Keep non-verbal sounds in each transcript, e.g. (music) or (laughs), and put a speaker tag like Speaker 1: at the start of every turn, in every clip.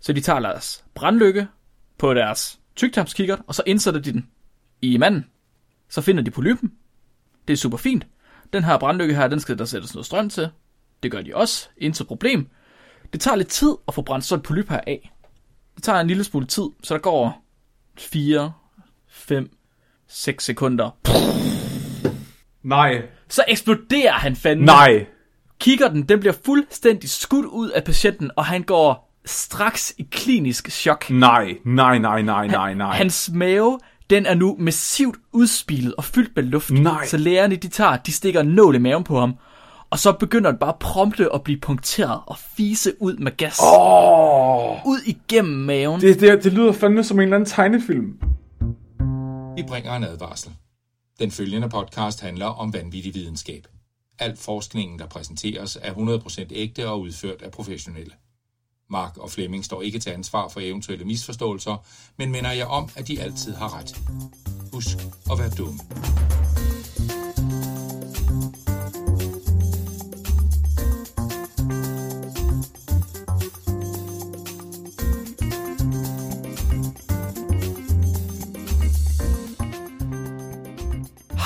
Speaker 1: Så de tager deres brandlykke på deres tygtarmskikkert, og så indsætter de den i manden. Så finder de polypen. Det er super fint. Den her brandlykke her, den skal der sættes noget strøm til. Det gør de også. Intet problem. Det tager lidt tid at få brændt sådan et polyp her af. Det tager en lille smule tid, så der går 4, 5, 6 sekunder.
Speaker 2: Nej.
Speaker 1: Så eksploderer han fandme.
Speaker 2: Nej.
Speaker 1: Kigger den, den bliver fuldstændig skudt ud af patienten, og han går straks i klinisk chok.
Speaker 2: Nej. Nej, nej, nej, nej, nej.
Speaker 1: Hans mave, den er nu massivt udspilet og fyldt med luft.
Speaker 2: Nej.
Speaker 1: Så lægerne, de tager, de stikker en nål i maven på ham. Og så begynder den bare prompte at blive punkteret og fise ud med gas. Oh. Ud igennem maven.
Speaker 2: Det, det, det lyder fandme som en eller anden tegnefilm.
Speaker 3: Vi bringer en advarsel. Den følgende podcast handler om vanvittig videnskab. Al forskningen, der præsenteres, er 100% ægte og udført af professionelle. Mark og Flemming står ikke til ansvar for eventuelle misforståelser, men minder jer om, at de altid har ret. Husk at være dum.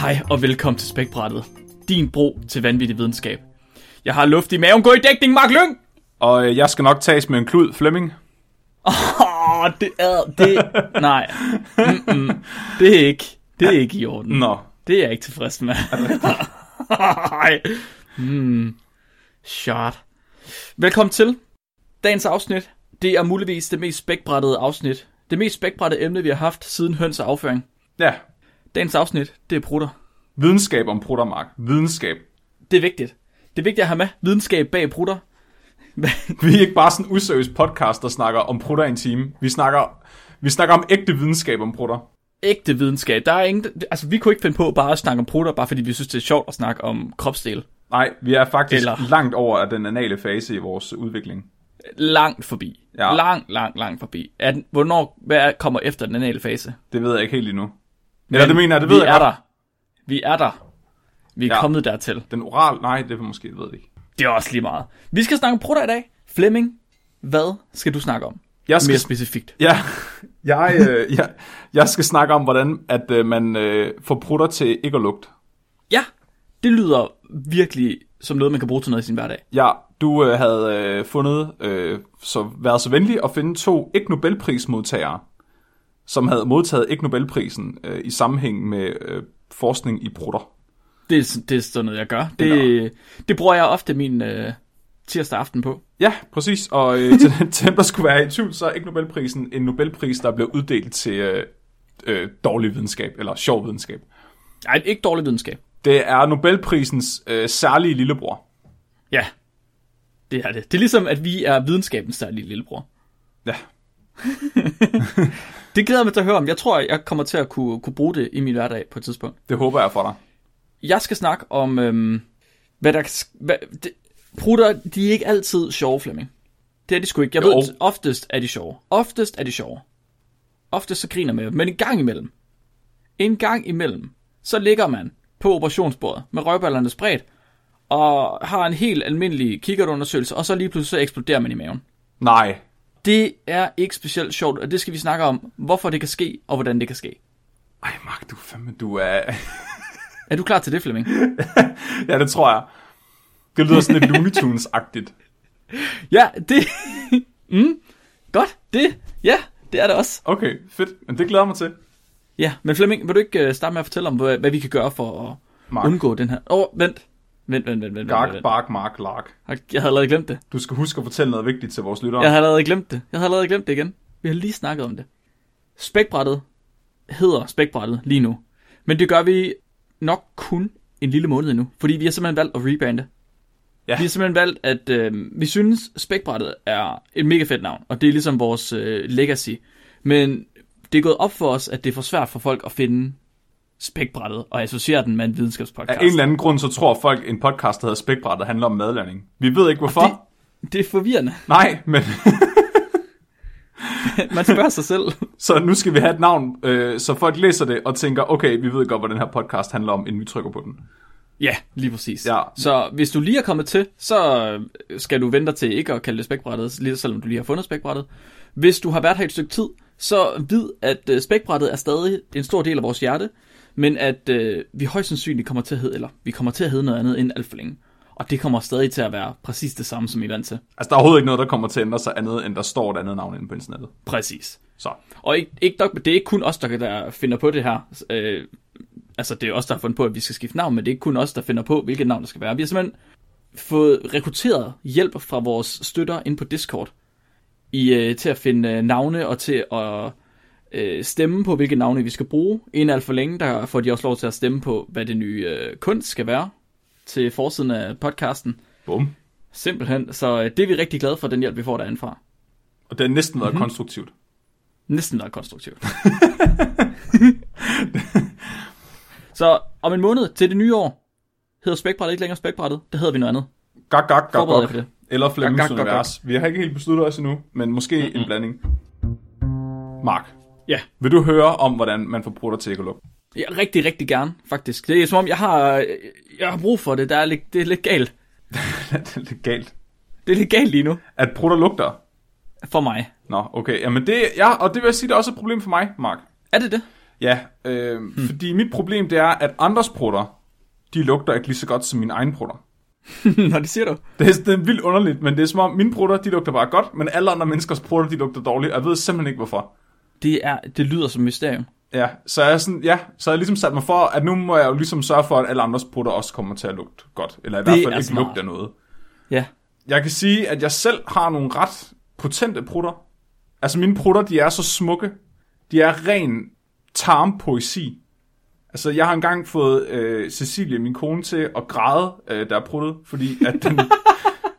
Speaker 1: Hej og velkommen til Spækbrættet. Din bro til vanvittig videnskab. Jeg har luft i maven. Gå i dækning, Mark Lyng!
Speaker 2: Og øh, jeg skal nok tages med en klud, Flemming.
Speaker 1: Åh, oh, det er... Det,
Speaker 2: (laughs)
Speaker 1: nej. Mm-mm. Det er ikke... Det er ikke i orden.
Speaker 2: Nå.
Speaker 1: Det er jeg ikke tilfreds med. (laughs) Nej. hmm. Shot. Velkommen til. Dagens afsnit, det er muligvis det mest spækbrættede afsnit. Det mest spækbrættede emne, vi har haft siden høns og afføring.
Speaker 2: Ja.
Speaker 1: Dagens afsnit, det er prutter.
Speaker 2: Videnskab om pruttermark. Videnskab. (laughs)
Speaker 1: Det er vigtigt. Det er vigtigt at have med videnskab bag prutter. (laughs)
Speaker 2: Vi er ikke bare sådan en useriøs podcast, der snakker om prutter i en time. Vi snakker, vi snakker om ægte videnskab om prutter.
Speaker 1: Ægte videnskab. Der er ingen, altså, vi kunne ikke finde på bare at snakke om prutter, bare fordi vi synes, det er sjovt at snakke om kropsdel.
Speaker 2: Nej, vi er faktisk
Speaker 1: Eller-
Speaker 2: Eller... langt over af den anale fase i vores udvikling.
Speaker 1: Langt forbi. Ja.
Speaker 2: Ja.
Speaker 1: Langt, langt, langt forbi. At, hvornår, hvad er- kommer efter den anale fase?
Speaker 2: Det ved jeg ikke helt endnu. Eller det
Speaker 1: Men
Speaker 2: mener jeg, det
Speaker 1: vi
Speaker 2: ved jeg
Speaker 1: er
Speaker 2: godt.
Speaker 1: der. Vi er der. Vi er ja.
Speaker 2: Ja.
Speaker 1: kommet dertil.
Speaker 2: Den oral, nej, det er måske, det ved jeg ikke.
Speaker 1: Det er også lige meget. Vi skal snakke om prutter i dag. Flemming, hvad skal du snakke om?
Speaker 2: Jeg skal,
Speaker 1: Mere specifikt.
Speaker 2: ja, (laughs) jeg, øh, jeg, jeg skal snakke om, hvordan at øh, man øh, får prutter til ikke at lugte.
Speaker 1: Ja, det lyder virkelig som noget, man kan bruge til noget i sin hverdag.
Speaker 2: Ja, du øh, havde øh, fundet, øh, så været så venlig at finde to ikke Nobelprismodtagere, som havde modtaget ikke Nobelprisen øh, i sammenhæng med øh, forskning i brutter.
Speaker 1: Det er, det er sådan noget, jeg gør. Det, det bruger jeg ofte min øh, tirsdag aften på.
Speaker 2: Ja, præcis. Og øh, til, (laughs) til dem, der skulle være i tvivl, så er ikke Nobelprisen en Nobelpris, der blev uddelt til øh, øh, dårlig videnskab, eller sjov videnskab.
Speaker 1: Nej, ikke dårlig videnskab.
Speaker 2: Det er Nobelprisens øh, særlige lillebror.
Speaker 1: Ja, det er det. Det er ligesom, at vi er videnskabens særlige lillebror.
Speaker 2: Ja,
Speaker 1: Det glæder jeg mig til at høre om. Jeg tror, jeg kommer til at kunne, kunne bruge det i min hverdag på et tidspunkt.
Speaker 2: det håber jeg for dig.
Speaker 1: Jeg skal snakke om, øhm, hvad der... sk- Hvad, det, prutter, de er ikke altid sjove, Flemming. Det er de sgu ikke. Jeg
Speaker 2: Jo.
Speaker 1: ved, oftest er de sjove. Oftest er de sjove. Oftest så griner man, men en gang imellem. En gang imellem, så ligger man på operationsbordet med røvballerne spredt, og har en helt almindelig kikkertundersøgelse, og så lige pludselig så eksploderer man i maven.
Speaker 2: Nej,
Speaker 1: Det er ikke specielt sjovt, og det skal vi snakke om, hvorfor det kan ske, og hvordan det kan ske.
Speaker 2: ej Mark, du er fandme, du er... (laughs)
Speaker 1: Er du klar til det, Flemming?
Speaker 2: Ja, det tror jeg. Det lyder sådan lidt Looney Tunes-agtigt.
Speaker 1: Ja, det... (laughs) mm, godt, det... Ja, det er det også.
Speaker 2: Okay, fedt. Men det glæder jeg mig til.
Speaker 1: Ja, men Flemming, vil du ikke øh, starte med at fortælle om, hvad, hvad vi kan gøre for at Mark.
Speaker 2: Mark.
Speaker 1: undgå den her... Åh, oh, vent. Vent, vent, vent, vent. vent,
Speaker 2: Gark,
Speaker 1: vent.
Speaker 2: bark, mark, lark.
Speaker 1: Jeg havde allerede glemt det.
Speaker 2: Du skal huske at fortælle noget vigtigt til vores lyttere.
Speaker 1: Jeg havde allerede glemt det. Jeg havde allerede glemt det igen. Vi har lige snakket om det. Spækbrættet hedder spækbrættet lige nu. Men det gør vi nok kun en lille måned endnu, fordi vi har simpelthen valgt at rebande.
Speaker 2: Ja.
Speaker 1: Vi har simpelthen valgt, at øh, vi synes, spækbrættet er et mega fedt navn, og det er ligesom vores øh, legacy. Men det er gået op for os, at det er for svært for folk at finde spækbrættet og associere den med en
Speaker 2: Af
Speaker 1: videnskabspodcast.
Speaker 2: en eller anden grund, så tror folk, en podcast, der hedder Spækbrættet, handler om madlavning. Vi ved ikke hvorfor.
Speaker 1: det, det er forvirrende.
Speaker 2: Nej, men (laughs)
Speaker 1: Man spørger sig selv.
Speaker 2: så nu skal vi have et navn, øh, så folk læser det og tænker, okay, vi ved godt, hvad den her podcast handler om, inden vi trykker på den.
Speaker 1: Ja, lige præcis.
Speaker 2: Ja.
Speaker 1: Så hvis du lige er kommet til, så øh, skal du vente dig til ikke at kalde det spækbrættet, lige selvom du lige har fundet spækbrættet. Hvis du har været her et stykke tid, så vid, at øh, spækbrættet er stadig en stor del af vores hjerte, men at øh, vi højst sandsynligt kommer til at hedde, eller vi kommer til at hedde noget andet end alt for længe. Og det kommer stadig til at være præcis det samme, som I er vant til.
Speaker 2: Altså, der er overhovedet ikke noget, der kommer til at ændre sig andet, end der står et andet navn inde på internettet.
Speaker 1: Præcis.
Speaker 2: Så.
Speaker 1: Og ikke, ikke nok, det er ikke kun os, der, der finder på det her. Øh, altså, det er os, der har fundet på, at vi skal skifte navn, men det er ikke kun os, der finder på, hvilket navn der skal være. Vi har simpelthen fået rekrutteret hjælp fra vores støtter ind på Discord i, øh, til at finde øh, navne og til at øh, stemme på, hvilke navne vi skal bruge. Inden alt for længe, der får de også lov til at stemme på, hvad det nye øh, kunst skal være til forsiden af podcasten.
Speaker 2: Bum.
Speaker 1: Simpelthen. Så øh, det er vi rigtig glade for, den hjælp, vi får derindefra.
Speaker 2: Og det har næsten været mm-hmm. konstruktivt.
Speaker 1: Næsten nok konstruktivt. (laughs) så om en måned til det nye år hedder spækbrættet ikke længere spækbrættet. Det hedder vi noget andet.
Speaker 2: Gak, gak, gak,
Speaker 1: Forbered jer på
Speaker 2: gak.
Speaker 1: det.
Speaker 2: Eller Flemmings
Speaker 1: Gak, gak, gak,
Speaker 2: Univers. Vi har ikke helt besluttet os endnu, men måske mm-hmm. en blanding. Mark,
Speaker 1: Ja.
Speaker 2: vil du høre om, hvordan man får brutter til (laughs) æggeluk?
Speaker 1: ja, rigtig, rigtig gerne faktisk. Det er som om, jeg har, øh, jeg har brug for det. Der er lidt, det er lidt galt.
Speaker 2: det er lidt galt.
Speaker 1: Det er lidt galt lige nu
Speaker 2: At brutter lugter?
Speaker 1: for mig.
Speaker 2: Nå, okay. Jamen det, ja, og det vil jeg sige, det er også et problem for mig, Mark.
Speaker 1: Er det (laughs) det?
Speaker 2: Ja, øh, hmm. fordi mit problem det er, at andres brutter, de lugter ikke lige så godt som mine egne brutter.
Speaker 1: Nå, det siger du.
Speaker 2: Det er, det er vildt underligt, men det er som om, mine brutter, de lugter bare godt, men alle andre menneskers brutter, de lugter dårligt, og jeg ved simpelthen ikke, hvorfor.
Speaker 1: Det, er, det lyder som et mysterium.
Speaker 2: Ja, så jeg er sådan, ja, så jeg ligesom sat mig for, at nu må jeg jo ligesom sørge for, at alle andres brutter også kommer til at lugte godt. Eller i hvert
Speaker 1: Det
Speaker 2: fald
Speaker 1: er
Speaker 2: ikke
Speaker 1: smart.
Speaker 2: lugte af noget.
Speaker 1: Ja.
Speaker 2: Jeg kan sige, at jeg selv har nogle ret potente prutter. Altså mine prutter, de er så smukke. De er ren tarmpoesi. Altså jeg har engang fået øh, Cecilie, min kone, til at græde, øh, der er pruttet, fordi at den,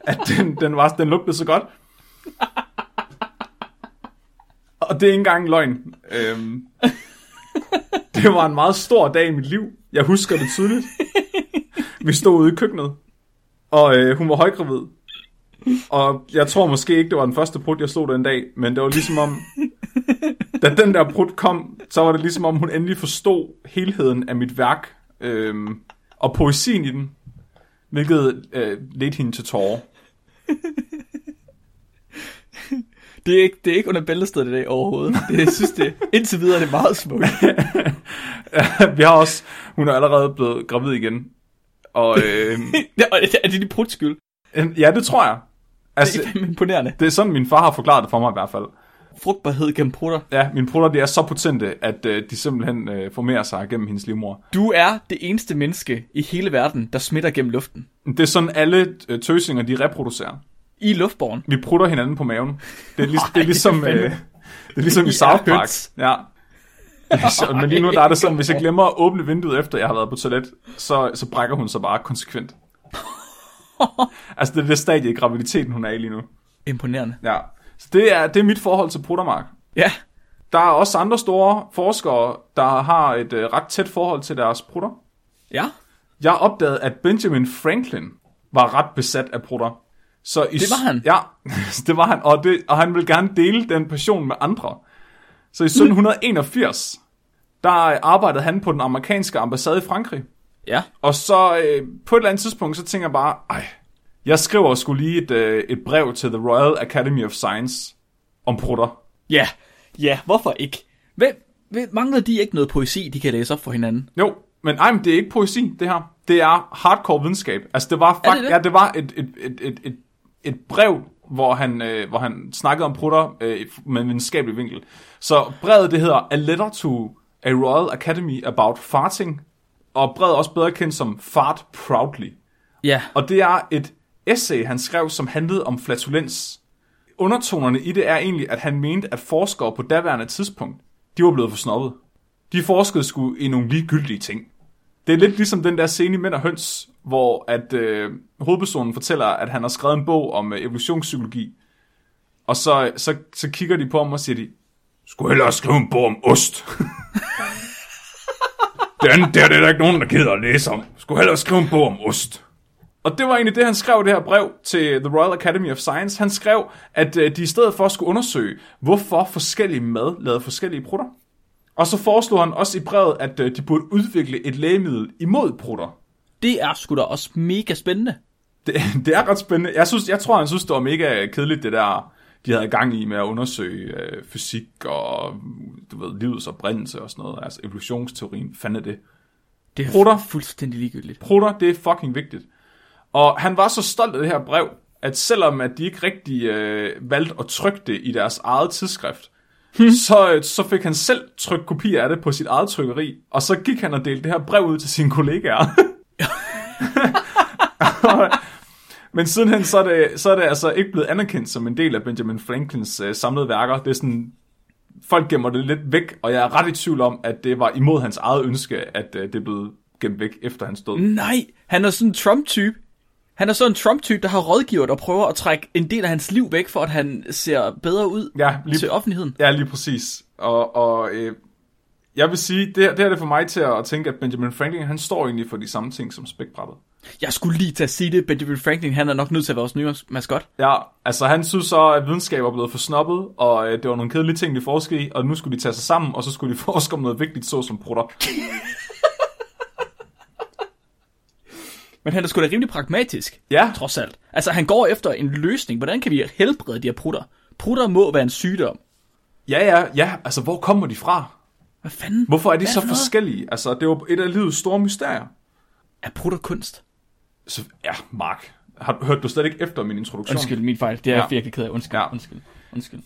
Speaker 2: at den, den, var, den lugtede så godt. Og det er ikke engang en løgn. Øhm, det var en meget stor dag i mit liv. Jeg husker det tydeligt. Vi stod ude i køkkenet, og øh, hun var højgravid. Og jeg tror måske ikke, det var den første prut, jeg slog den dag, men det var ligesom om, da den der prut kom, så var det ligesom om, hun endelig forstod helheden af mit værk, øhm, og poesien i den, hvilket øh, ledte hende til tårer. (laughs)
Speaker 1: Det er ikke, det er ikke under bæltestedet i dag overhovedet. Det, jeg synes, det indtil videre er det meget smukt.
Speaker 2: Vi har også, hun er allerede blevet gravid igen. Og øh,
Speaker 1: (laughs) Ja, og er det din prutskyld?
Speaker 2: ja, det tror jeg.
Speaker 1: Det er
Speaker 2: Altså,
Speaker 1: fandme imponerende.
Speaker 2: det er sådan, min far har forklaret det for mig i hvert fald.
Speaker 1: Frugtbarhed gennem prutter.
Speaker 2: Ja, mine prutter, de er så potente, at øh, de simpelthen øh, formerer sig gennem hendes livmor.
Speaker 1: Du er det eneste menneske i hele verden, der smitter gennem luften.
Speaker 2: Det er sådan, alle øh, tøsinger, de reproducerer.
Speaker 1: I luftborgen.
Speaker 2: Vi prutter hinanden på maven. Det er, lig, det
Speaker 1: Ej,
Speaker 2: er ligesom,
Speaker 1: det er
Speaker 2: øh,
Speaker 1: fandme-
Speaker 2: det er ligesom
Speaker 1: I
Speaker 2: i South
Speaker 1: er
Speaker 2: Park.
Speaker 1: høns.
Speaker 2: Ja. Det er sjovt, Men lige nu der er det sådan, hvis jeg glemmer at åbne vinduet efter, jeg har været på toilet, så, så brækker hun sig bare (laughs) konsekvent. Altså det er det stadie i graviditeten, hun er i lige nu.
Speaker 1: Imponerende.
Speaker 2: Ja. Så det er, det er mit forhold til pruttermark.
Speaker 1: Ja,
Speaker 2: Der er også andre store forskere, der har et øh, ret tæt forhold til deres prutter.
Speaker 1: ja.
Speaker 2: Jeg opdagede, at Benjamin Franklin var ret besat af prutter. Så i,
Speaker 1: Det var han.
Speaker 2: Ja, (laughs) det var han, og, det, og han ville gerne dele den passion med andre.
Speaker 1: Mm.
Speaker 2: Så i 1781, der arbejdede han på den amerikanske ambassade i Frankrig.
Speaker 1: Ja,
Speaker 2: Og så øh, på et eller andet tidspunkt, så tænker jeg bare, ej, jeg skriver skulle lige et, øh, et brev til The Royal Academy of Science om prutter.
Speaker 1: ja, ja, hvorfor ikke? Hvem, hvem, mangler de ikke noget poesi, de kan læse op for hinanden?
Speaker 2: Jo, men ej, men det er ikke poesi, det her. Det er hardcore videnskab. Altså, det var,
Speaker 1: Er
Speaker 2: fakt-
Speaker 1: det det?
Speaker 2: Ja, det var et, et, et, et, et, et brev, hvor han, øh, hvor han snakkede om prutter øh, med en videnskabelig vinkel. Så brevet, det hedder A Letter to a Royal Academy About Farting, og brevet er også bedre kendt som Fart Proudly.
Speaker 1: Ja,
Speaker 2: Og det er et essay, han skrev, som handlede om flatulens. Undertonerne i det er egentlig, at han mente, at forskere på daværende tidspunkt, de var blevet for snobbet. De forskede sgu i nogle ligegyldige ting. Det er lidt ligesom den der scene i Mænd og Høns, hvor at øh, hovedpersonen fortæller, at han har skrevet en bog om øh, evolutionspsykologi. Og så, så, så kigger de på ham og siger de, skulle hellere skrive en bog om ost. (laughs) Den der, det er der ikke nogen, der gider at læse om. Skulle hellere skrive en bog om ost. Og det var egentlig det, han skrev i det her brev til The Royal Academy of Science. Han skrev, at øh, de i stedet for skulle undersøge, hvorfor forskellige mad lavede forskellige prutter. Og så foreslog han også i brevet, at øh, de burde udvikle et lægemiddel imod prutter.
Speaker 1: Det er sgu da også mega spændende.
Speaker 2: Det, (laughs) det er ret spændende. Jeg, synes, jeg tror, han synes, det var mega kedeligt, det der, de havde gang i med at undersøge øh, fysik og du ved, livets oprindelse og sådan noget. Altså evolutionsteorien, fanden er det.
Speaker 1: Det er
Speaker 2: Prutter.
Speaker 1: fuldstændig ligegyldigt.
Speaker 2: Prutter, det er fucking vigtigt. Og han var så stolt af det her brev, at selvom at de ikke rigtig øh, valgte at trykke det i deres eget tidsskrift, så, øh, så fik han selv trykt kopier af det på sit eget trykkeri, og så gik han og delte det her brev ud til sine kollegaer. (laughs) Men sidenhen, så er, det, så er det altså ikke blevet anerkendt som en del af Benjamin Franklins øh, samlede værker. Det er sådan, folk gemmer det lidt væk, og jeg er ret i tvivl om, at det var imod hans eget ønske, at øh, det blev gemt væk efter hans død.
Speaker 1: Nej, han er sådan en Trump-type. Han er sådan en Trump-type, der har rådgivet og prøver at trække en del af hans liv væk, for at han ser bedre ud
Speaker 2: Ja, lige-
Speaker 1: til offentligheden.
Speaker 2: Ja, lige præcis. Og, og øh, jeg vil sige, det, her- det her er det for mig til at tænke, at Benjamin Franklin, han står egentlig for de samme ting som spækbrættet.
Speaker 1: Jeg skulle lige til at sige det, Benjamin Franklin, han er nok nødt til at være vores nye maskot.
Speaker 2: Ja, altså han synes så, at videnskab er blevet for snobbet, og øh, det var nogle kedelige ting, de forskede i, og nu skulle de tage sig sammen, og så skulle de (laughs) forske om noget vigtigt, såsom prutter.
Speaker 1: Men han er sgu da rimelig pragmatisk,
Speaker 2: Ja,
Speaker 1: trods alt. Altså, han går efter en løsning. Hvordan kan vi helbrede de her prutter? Prutter må være en sygdom.
Speaker 2: ja, ja, ja, altså hvor kommer de fra?
Speaker 1: Hvad fanden?
Speaker 2: Hvorfor er de
Speaker 1: Hvad
Speaker 2: så
Speaker 1: for noget?
Speaker 2: forskellige? Altså, det var et af livets store mysterier.
Speaker 1: Er prutter kunst?
Speaker 2: Så, ja, Mark, har, du- hørte du slet ikke efter min introduktion?
Speaker 1: Undskyld, min fejl. Det er
Speaker 2: Ja.
Speaker 1: jeg virkelig ked af. Undskyld,
Speaker 2: Ja.
Speaker 1: undskyld, undskyld.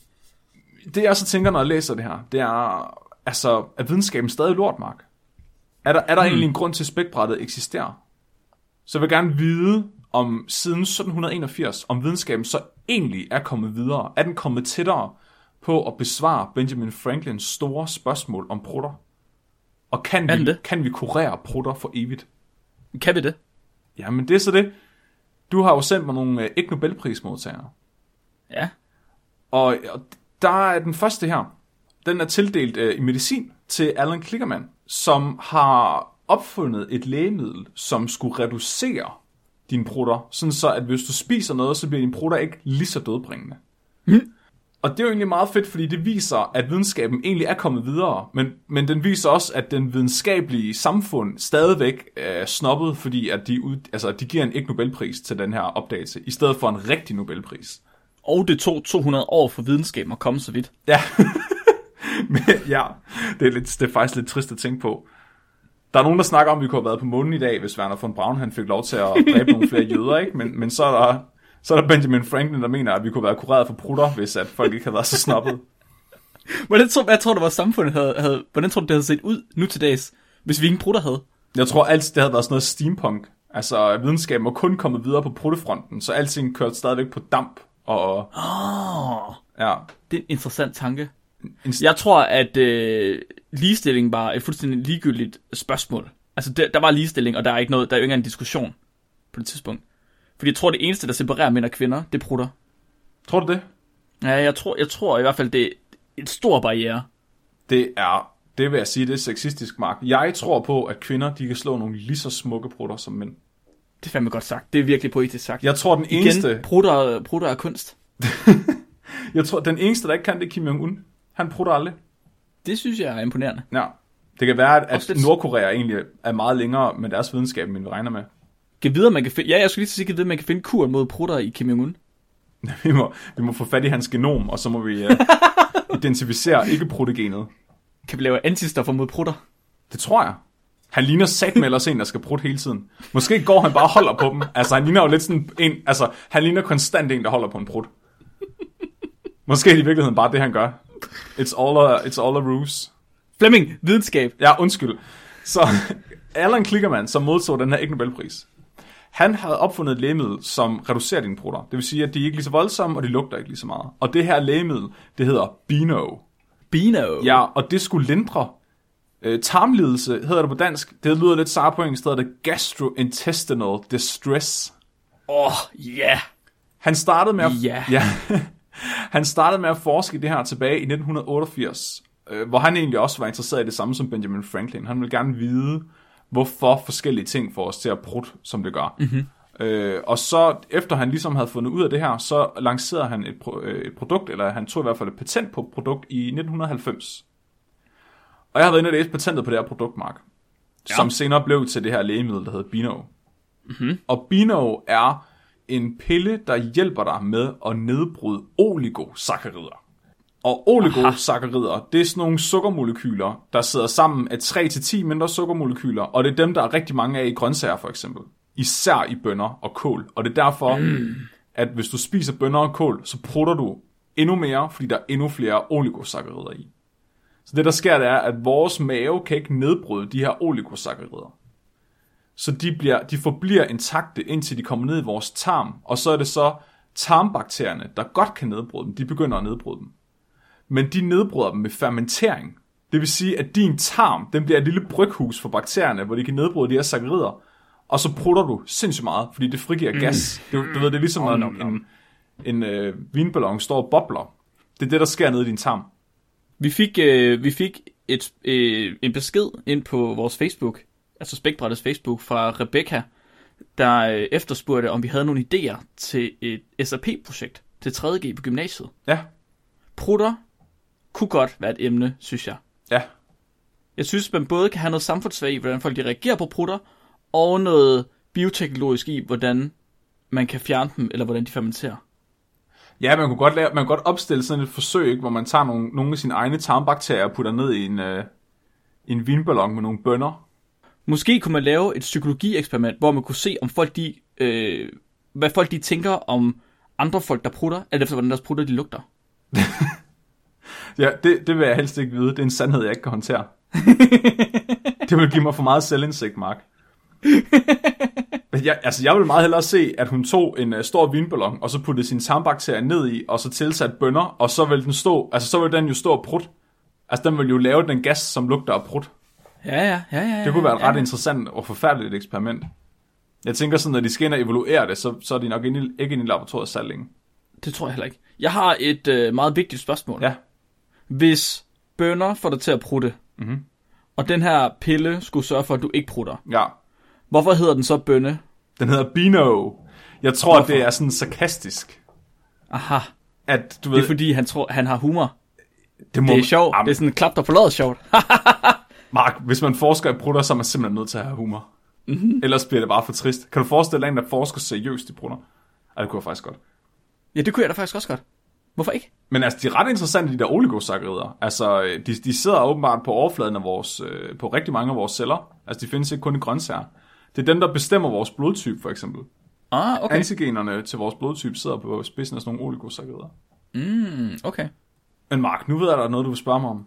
Speaker 2: det jeg så tænker, når jeg læser det her, det er, altså, er videnskaben stadig lort, Mark? Er der, er
Speaker 1: Hmm.
Speaker 2: der egentlig en grund til, at spækbrættet eksisterer? Så jeg vil gerne vide, om siden 1781, om videnskaben så egentlig er kommet videre. Er den kommet tættere på at besvare Benjamin Franklins store spørgsmål om prutter? Og kan,
Speaker 1: Er
Speaker 2: vi,
Speaker 1: den det?
Speaker 2: kan vi kurere prutter for evigt?
Speaker 1: Kan vi det?
Speaker 2: Jamen, det er så det. Du har jo sendt mig nogle øh, ikke Nobelprismodtagere.
Speaker 1: Ja.
Speaker 2: Og, og der er den første her. Den er tildelt øh, i medicin til Alan Klickerman, som har opfundet et lægemiddel, som skulle reducere dine prutter, sådan så at hvis du spiser noget, så bliver dine prutter ikke lige så dødbringende. Og det er jo egentlig meget fedt, fordi det viser, at videnskaben egentlig er kommet videre, men, men den viser også, at den videnskabelige samfund stadigvæk øh, er snobbet, fordi at de, ud, altså, de giver en ikke Nobelpris til den her opdagelse, i stedet for en rigtig Nobelpris.
Speaker 1: Og det tog 200 år for videnskaben at komme så vidt.
Speaker 2: Ja. (laughs) Men, ja, det er, lidt, det er faktisk lidt trist at tænke på. Der er nogen, der snakker om, at vi kunne have været på månen i dag, hvis Werner von Braun han fik lov til at dræbe nogle flere jøder, ikke? Men, men så, er der, så er der Benjamin Franklin, der mener, at vi kunne være kureret for prutter, hvis at folk ikke havde været så snobbet.
Speaker 1: Hvordan tror, hvad tror du, vores samfund havde, havde, hvordan tror du, det havde set ud nu til dags, hvis vi ingen prutter havde?
Speaker 2: Jeg tror alt det havde været sådan noget steampunk. Altså, videnskaben var kun kommet videre på pruttefronten, så alting kørte stadigvæk på damp. Og,
Speaker 1: Åh, oh,
Speaker 2: ja,
Speaker 1: det er en interessant tanke.
Speaker 2: en, ja.
Speaker 1: Jeg tror, at øh, ligestilling var et fuldstændig ligegyldigt spørgsmål. Altså, der, der var ligestilling, og der er ikke noget, der er jo ikke engang en diskussion på det tidspunkt. Fordi jeg tror, det eneste, der separerer mænd og kvinder, det er prutter.
Speaker 2: Tror du det?
Speaker 1: Ja, jeg tror, jeg tror i hvert fald, det er en stor barriere.
Speaker 2: Det er, det vil jeg sige, det er sexistisk, Mark. Jeg tror på, at kvinder, de kan slå nogle lige så smukke prutter som mænd.
Speaker 1: Det er fandme godt sagt. Det er virkelig poetisk sagt.
Speaker 2: Jeg tror, den eneste,
Speaker 1: Igen, prutter, prutter er kunst.
Speaker 2: jeg tror, den eneste, der ikke kan, det er Kim Jong-un. Han prutter aldrig.
Speaker 1: Det synes jeg er imponerende.
Speaker 2: Ja. Det kan være, at,
Speaker 1: Også
Speaker 2: at
Speaker 1: lidt-
Speaker 2: Nordkorea egentlig er meget længere med deres videnskab, end vi regner med. (laughs)
Speaker 1: Kan vide, om man kan finde... Ja, jeg skulle lige til at sige, kan vide, om man kan finde kuren mod prutter i Kim Jong-un.
Speaker 2: Vi må, vi må få fat i hans genom, og så må vi uh, identificere ikke-protogenet.
Speaker 1: Kan vi lave antistoffer mod prutter?
Speaker 2: Det tror jeg. Han ligner satme ellers en, der skal prutte hele tiden. Måske går han bare og holder på dem. Altså, han ligner jo lidt sådan en... Altså, han ligner konstant en, der holder på en prut. Måske er det i virkeligheden bare det, han gør. It's all a, it's all a ruse.
Speaker 1: Flemming, videnskab.
Speaker 2: Ja, undskyld. Så (laughs) Alan Klickerman, som modtog den her Ig Nobelpris, han havde opfundet et lægemiddel, som reducerer dine prutter. Det vil sige, at de er ikke lige så voldsomme, og de lugter ikke lige så meget. Og det her lægemiddel, det hedder Bino.
Speaker 1: Bino.
Speaker 2: Ja, og det skulle lindre øh, tarmlidelse, hedder det på dansk. Det lyder lidt sart på engelsk, hedder det gastrointestinal distress.
Speaker 1: Åh, oh, ja. Yeah.
Speaker 2: Han startede med at,
Speaker 1: Ja.
Speaker 2: (laughs) ja han startede med at forske i det her tilbage i 1988, øh, hvor han egentlig også var interesseret i det samme som Benjamin Franklin. Han ville gerne vide, hvorfor forskellige ting får os til at brudt, som det gør. Mm-hmm. Øh, og så efter han ligesom havde fundet ud af det her, så lancerede han et, pro- øh, et produkt, eller han tog i hvert fald et patent på et produkt i 1990. Og jeg har været inde og læse patentet på det her produkt, Mark, ja. som senere blev til det her lægemiddel, der hedder Bino. Mm-hmm. Og Bino er en pille, der hjælper dig med at nedbryde oligosaccharider. Og oligosaccharider, det er sådan nogle sukkermolekyler, der sidder sammen af 3-10 mindre sukkermolekyler, og det er dem, der er rigtig mange af i grøntsager for eksempel. Især i bønner og kål. Og det er derfor, mm. at hvis du spiser bønner og kål, så prutter du endnu mere, fordi der er endnu flere oligosaccharider i. Så det, der sker, det er, at vores mave kan ikke nedbryde de her oligosaccharider. Så de, bliver, de forbliver intakte, indtil de kommer ned i vores tarm, og så er det så tarmbakterierne, der godt kan nedbryde dem, de begynder at nedbryde dem. Men de nedbryder dem med fermentering. Det vil sige, at din tarm, den bliver et lille bryghus for bakterierne, hvor de kan nedbryde de her sakkerider, og så prutter du sindssygt meget, fordi det frigiver mm. gas. Du, du ved, det er ligesom, når en, en, en øh, vinballon står og bobler. Det er det, der sker nede i din tarm.
Speaker 1: Vi fik, øh, vi fik et, øh, en besked ind på vores Facebook, altså Spækbrættets Facebook, fra Rebecca, der øh, efterspurgte, om vi havde nogle idéer til et SAP-projekt til 3.G på gymnasiet.
Speaker 2: Ja,
Speaker 1: Prutter kunne godt være et emne, synes jeg.
Speaker 2: ja,
Speaker 1: Jeg synes, man både kan have noget samfundsfag i, hvordan folk de reagerer på prutter, og noget bioteknologisk i, hvordan man kan fjerne dem, eller hvordan de fermenterer.
Speaker 2: Ja, man kunne godt, lave, man kunne godt opstille sådan et forsøg, ikke, hvor man tager nogle, nogle af sine egne tarmbakterier og putter ned i en, øh, en vinballon med nogle bønner.
Speaker 1: Måske kunne man lave et psykologieksperiment, hvor man kunne se, om folk de, øh, hvad folk de tænker om andre folk, der prutter, alt efter hvordan deres prutter de lugter.
Speaker 2: Ja, det, det vil jeg helst ikke vide. Det er en sandhed, jeg ikke kan håndtere. det vil give mig for meget selvindsigt, Mark. Men Jeg, altså, jeg vil meget hellere se, at hun tog en uh, stor vinballon, og så puttede sine tarmbakterier ned i, og så tilsatte bønner, og så vil den stå, altså så vil den jo stå og prut. Altså, den vil jo lave den gas, som lugter af prut.
Speaker 1: Ja, ja, ja, ja.
Speaker 2: Det kunne være et ret interessant og forfærdeligt eksperiment. Jeg tænker sådan, når de skal ind og evaluere det, så, så er de nok inde, i- ikke inde i laboratoriet særlig længe.
Speaker 1: Det tror jeg heller ikke. Jeg har et øh, meget vigtigt spørgsmål.
Speaker 2: Ja.
Speaker 1: Hvis bønder får dig til at prutte, mm-hmm.
Speaker 2: Mhm.
Speaker 1: og den her pille skulle sørge for, at du ikke prutter,
Speaker 2: Ja.
Speaker 1: hvorfor hedder den så bønne?
Speaker 2: Den hedder Bino. Jeg tror, Hvorfor? det er sådan sarkastisk.
Speaker 1: Aha,
Speaker 2: At, du ved,
Speaker 1: det er fordi, han tror, han har humor.
Speaker 2: det, må,
Speaker 1: Det er sjovt.
Speaker 2: Jamen,
Speaker 1: Det er sådan klap dig på låret sjovt. (laughs) Ha!
Speaker 2: Mark, hvis man forsker i prutter, så er man simpelthen nødt til at have humor.
Speaker 1: Mhm.
Speaker 2: Mm-hmm. Ellers bliver det bare for trist. Kan du forestille dig en, der forsker seriøst i prutter? Ej, det kunne jeg faktisk godt.
Speaker 1: Ja, det kunne jeg da faktisk også godt. Hvorfor ikke?
Speaker 2: Men altså, de er ret interessante, de der oligosaccharider. Altså, øh, de, de sidder åbenbart på overfladen af vores, øh, på rigtig mange af vores celler. Altså, de findes ikke kun i grøntsager. Det er dem, der bestemmer vores blodtype, for eksempel.
Speaker 1: Ah, okay.
Speaker 2: Antigenerne til vores blodtype sidder på spidsen af sådan nogle oligosaccharider.
Speaker 1: Mm, okay.
Speaker 2: Men Mark, nu ved jeg, at der er noget, du vil spørge mig om.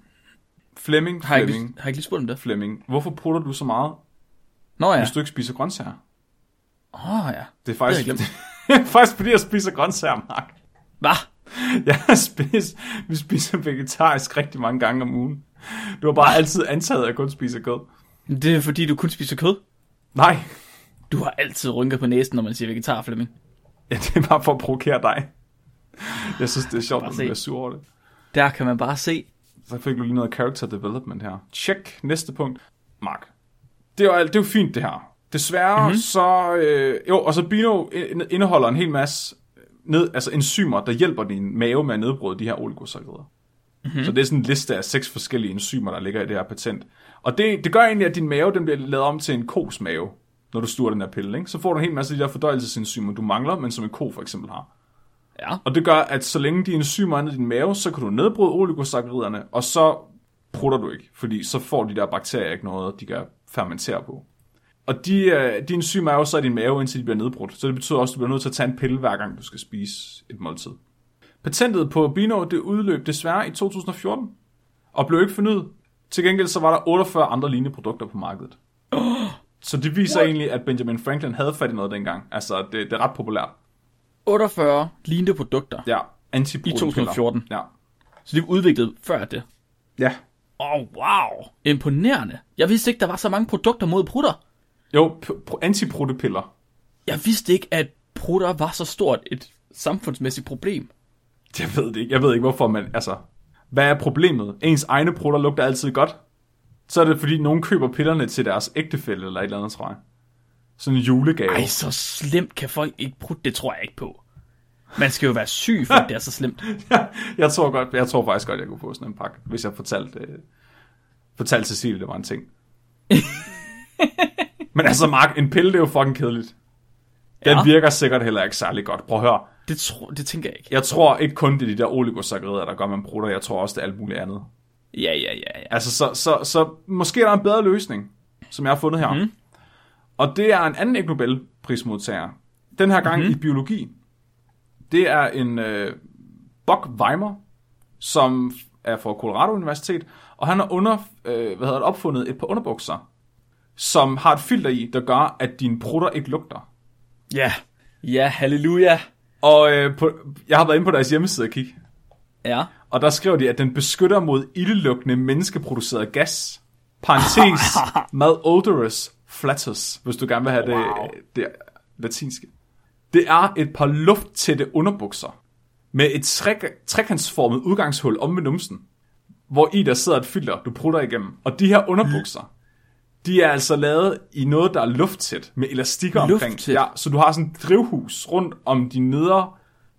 Speaker 2: Flemming,
Speaker 1: Har jeg, ikke,
Speaker 2: Flemming,
Speaker 1: har jeg ikke lige spurgt om det?
Speaker 2: Flemming, hvorfor prutter du så meget,
Speaker 1: Nå ja.
Speaker 2: hvis du ikke spiser grøntsager?
Speaker 1: Åh oh, ja.
Speaker 2: Det er faktisk,
Speaker 1: Det
Speaker 2: det er (laughs) faktisk fordi, jeg spiser grøntsager, Mark.
Speaker 1: Hvad?
Speaker 2: Jeg spiser, vi spiser vegetarisk rigtig mange gange om ugen. Du har bare altid antaget, at jeg kun spiser kød.
Speaker 1: Det er fordi, du kun spiser kød.
Speaker 2: Nej,
Speaker 1: Du har altid rynker på næsen, når man siger vegetar, Flemming.
Speaker 2: ja, det er bare for at provokere dig. Jeg synes, det er sjovt, at du
Speaker 1: se.
Speaker 2: bliver sur over det.
Speaker 1: Der kan man bare se.
Speaker 2: Så fik du lige noget character development her. Check. Næste punkt. Mark. Det er jo, alt- det er jo fint, det her. Desværre mm-hmm. så... Øh, jo, og så Bino ind- indeholder en hel masse ned, altså enzymer, der hjælper din mave med at nedbryde de her oligosaccharider. Mm-hmm. Så det er sådan en liste af seks forskellige enzymer, der ligger i det her patent. Og det, det gør egentlig, at din mave den bliver lavet om til en kos mave, når du sturer den her pille. Ikke? Så får du en hel masse af de der fordøjelsesenzymer, du mangler, men som en ko for eksempel har.
Speaker 1: Ja.
Speaker 2: Og det gør, at så længe de enzymer er nede i din mave, så kan du nedbryde oligosacchariderne, og så prutter du ikke, fordi så får de der bakterier ikke noget, de kan fermentere på. Og de, øh, de enzymer er jo så i din mave, indtil de bliver nedbrudt. Så det betyder også, at du bliver nødt til at tage en pille, hver gang du skal spise et måltid. Patentet på Bino, det udløb desværre i 2014, og blev ikke fornyet. Til gengæld så var der 48 andre lignende produkter på markedet. Så det viser What? egentlig, at Benjamin Franklin havde fat i noget dengang. Altså, det, det er ret populært.
Speaker 1: 48 lignende produkter.
Speaker 2: Ja, antiprotein.
Speaker 1: I 2014.
Speaker 2: Ja.
Speaker 1: Så de er udviklet før det.
Speaker 2: Ja.
Speaker 1: Åh, oh, wow. Imponerende. Jeg vidste ikke, der var så mange produkter mod prutter.
Speaker 2: Jo, p- p- antiprotepiller.
Speaker 1: Jeg vidste ikke, at prutter var så stort et samfundsmæssigt problem.
Speaker 2: (laughs) Jeg ved det ikke. Jeg ved ikke, hvorfor man... Altså, hvad er problemet? Ens egne prutter lugter altid godt. Så er det, fordi nogen køber pillerne til deres ægtefælle eller et eller andet, tror jeg. Sådan en julegave.
Speaker 1: Ej, så slemt kan folk ikke prutte. Det tror jeg ikke på. Man skal jo være syg, for at det er så slemt.
Speaker 2: jeg, tror godt, jeg tror faktisk godt, jeg kunne få sådan en pakke, hvis jeg fortalte, øh,
Speaker 1: (laughs)
Speaker 2: fortalte Cecilie, det var en ting. Men altså, Mark, en pille, det er jo fucking kedeligt. Den
Speaker 1: Ja.
Speaker 2: virker sikkert heller ikke særlig godt. Prøv at høre.
Speaker 1: Det, tro, det tænker jeg ikke.
Speaker 2: Jeg tror ikke kun, det er de der oligosakkerider, der gør, at man bruger Jeg tror også, det er alt muligt andet.
Speaker 1: Ja, ja, ja. ja.
Speaker 2: Altså, så, så, så måske er der en bedre løsning, som jeg har fundet her. Mm. Og det er en anden Ig Nobelprismodtager. Den her gang mm. i biologi. Det er en øh, Buck Weimer, som er fra Colorado Universitet, og han har under, øh, hvad hedder det, opfundet et par underbukser, som har et filter i, der gør, at dine prutter ikke lugter.
Speaker 1: Ja, ja halleluja.
Speaker 2: Og øh, på, jeg har været inde på deres hjemmeside og kigge,
Speaker 1: Ja.
Speaker 2: og der skrev de, at den beskytter mod ildelugtende menneskeproduceret gas. Parenthes,
Speaker 1: (laughs)
Speaker 2: mad odorous flatus, hvis du gerne vil have det, øh,
Speaker 1: Wow.
Speaker 2: det latinske. Det er et par lufttætte underbukser med et tre- trekantsformet udgangshul om ved numsen, hvor i der sidder et filter, du prutter igennem. Og de her underbukser, de er altså lavet i noget, der er lufttæt, med elastikker omkring.
Speaker 1: Lufttæt?
Speaker 2: Ja, så du har sådan et drivhus rundt om din nedre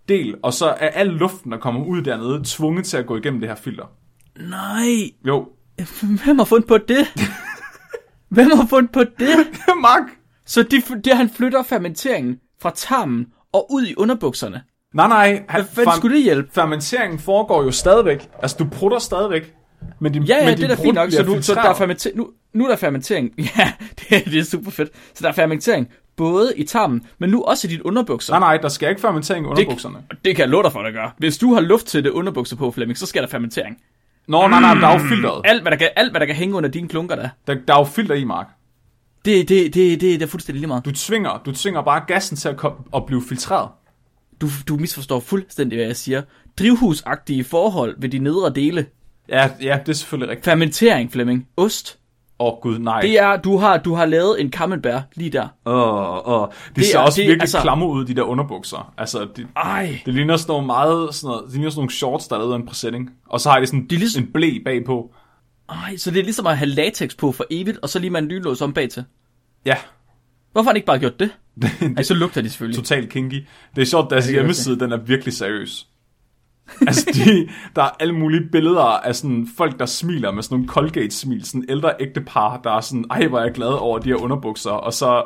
Speaker 2: del, og så er al luften, der kommer ud dernede, tvunget til at gå igennem det her filter.
Speaker 1: Nej,
Speaker 2: Jo, (laughs)
Speaker 1: hvem har fundet på det? hvem har fundet på det?
Speaker 2: Mark!
Speaker 1: Så det, det han flytter fermenteringen fra tarmen og ud i underbukserne.
Speaker 2: Nej, nej. Han,
Speaker 1: Hvad fanden skulle det hjælpe?
Speaker 2: Fermenteringen foregår jo stadigvæk. Altså, du prutter stadigvæk. Men din,
Speaker 1: Ja, ja,
Speaker 2: men
Speaker 1: det er da fint nok, så, du, så der er
Speaker 2: fermentering.
Speaker 1: fermenter, nu, nu er der fermentering. (laughs) Ja, det, det er super fedt. Så der er fermentering både i tarmen, men nu også i dit underbukser.
Speaker 2: Nej, nej, der skal ikke fermentering i underbukserne.
Speaker 1: Og det kan jeg love dig for, der gør. Hvis du har luft til det underbukser på, Flemming, så skal der fermentering.
Speaker 2: Nå, nej, nej, men der er jo filteret.
Speaker 1: Alt, hvad der kan, alt, hvad der kan hænge under dine klunker, der,
Speaker 2: Der, der er jo filter i, Mark.
Speaker 1: det, det, det, det, det er fuldstændig lige meget.
Speaker 2: Du tvinger, du tvinger bare gassen til at, komme, at blive filtreret.
Speaker 1: Du, du misforstår fuldstændig, hvad jeg siger. Drivhusagtige forhold ved de nedre dele.
Speaker 2: Ja, ja, det er selvfølgelig rigtigt.
Speaker 1: Fermentering, Flemming. Ost.
Speaker 2: Åh, oh, gud, nej.
Speaker 1: Det er, du har, du har lavet en camembert lige der.
Speaker 2: Åh, åh. De det
Speaker 1: Det
Speaker 2: ser
Speaker 1: er-
Speaker 2: også
Speaker 1: det-
Speaker 2: virkelig
Speaker 1: altså-
Speaker 2: klamme ud, de der underbukser. Altså, de,
Speaker 1: Ej.
Speaker 2: det ligner sådan nogle meget, sådan noget, det ligner sådan nogle shorts, der er lavet af en præsætning. Og så har de sådan de
Speaker 1: er ligesom-
Speaker 2: en blæ bagpå.
Speaker 1: Ej, så det er ligesom at have latex på for evigt, og så lige man lynlås om bag til.
Speaker 2: Ja,
Speaker 1: Hvorfor har han ikke bare gjort det? Ej, så lugter de selvfølgelig.
Speaker 2: totalt kinky. Det er sjovt, deres
Speaker 1: det er
Speaker 2: hjemmeside, den er virkelig seriøs. altså, de, der er alle mulige billeder af sådan folk, der smiler med sådan nogle Colgate-smil. Sådan ældre ægte par, der er sådan, ej, hvor er jeg glad over de her underbukser. Og så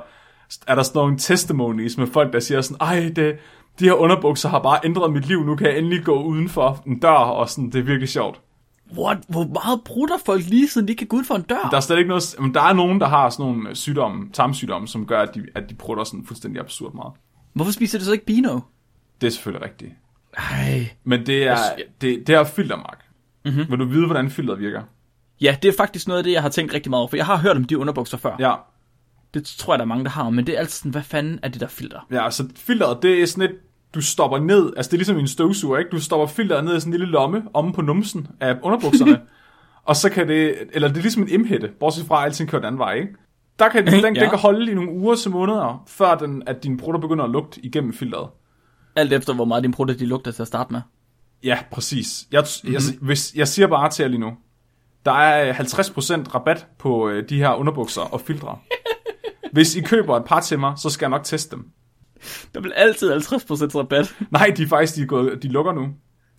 Speaker 2: er der sådan nogle testimonies med folk, der siger sådan, ej, det, de her underbukser har bare ændret mit liv. Nu kan jeg endelig gå uden for en dør, og sådan, det er virkelig sjovt.
Speaker 1: What? Hvor meget brutter folk lige, siden de ikke kan gå ud for en dør?
Speaker 2: Der er slet ikke noget, men der er nogen, der har sådan nogle sygdomme, tarmsygdomme, som gør, at de, at de prutter sådan fuldstændig absurd meget.
Speaker 1: Hvorfor spiser de så ikke bino?
Speaker 2: Det er selvfølgelig rigtigt.
Speaker 1: Ej.
Speaker 2: Men det er,
Speaker 1: Jeg-
Speaker 2: det, det er filtermark. Mm-hmm. Vil du vide, hvordan filteret virker?
Speaker 1: Ja, det er faktisk noget af det, jeg har tænkt rigtig meget over, for jeg har hørt om de underbukser før.
Speaker 2: Ja,
Speaker 1: Det tror jeg, der er mange, der har, men det er altid sådan, hvad fanden er det der filter?
Speaker 2: ja så filteret, det er sådan et, du stopper ned, altså det er ligesom i en støvsuger, ikke? Du stopper filteret ned i sådan en lille lomme omme på numsen af (laughs) underbukserne. og så kan det, eller det er ligesom en imhætte, bortset fra at alting kører den anden vej, ikke? Der kan den, den, den
Speaker 1: Ja.
Speaker 2: kan holde i nogle uger til måneder, før den, at dine brutter begynder at lugte igennem filteret.
Speaker 1: Alt efter, hvor meget din brutter, de lugter til at starte med.
Speaker 2: Ja, præcis. Jeg,
Speaker 1: Mhm.
Speaker 2: mm-hmm. jeg, hvis, jeg siger bare til jer lige nu, der er øh, 50% rabat på øh, de her underbukser og
Speaker 1: (laughs)
Speaker 2: filtre. Hvis I køber et par til mig, så skal jeg nok teste dem.
Speaker 1: Der vil altid 50% rabat.
Speaker 2: Nej, de er faktisk de, er gået, de lukker nu.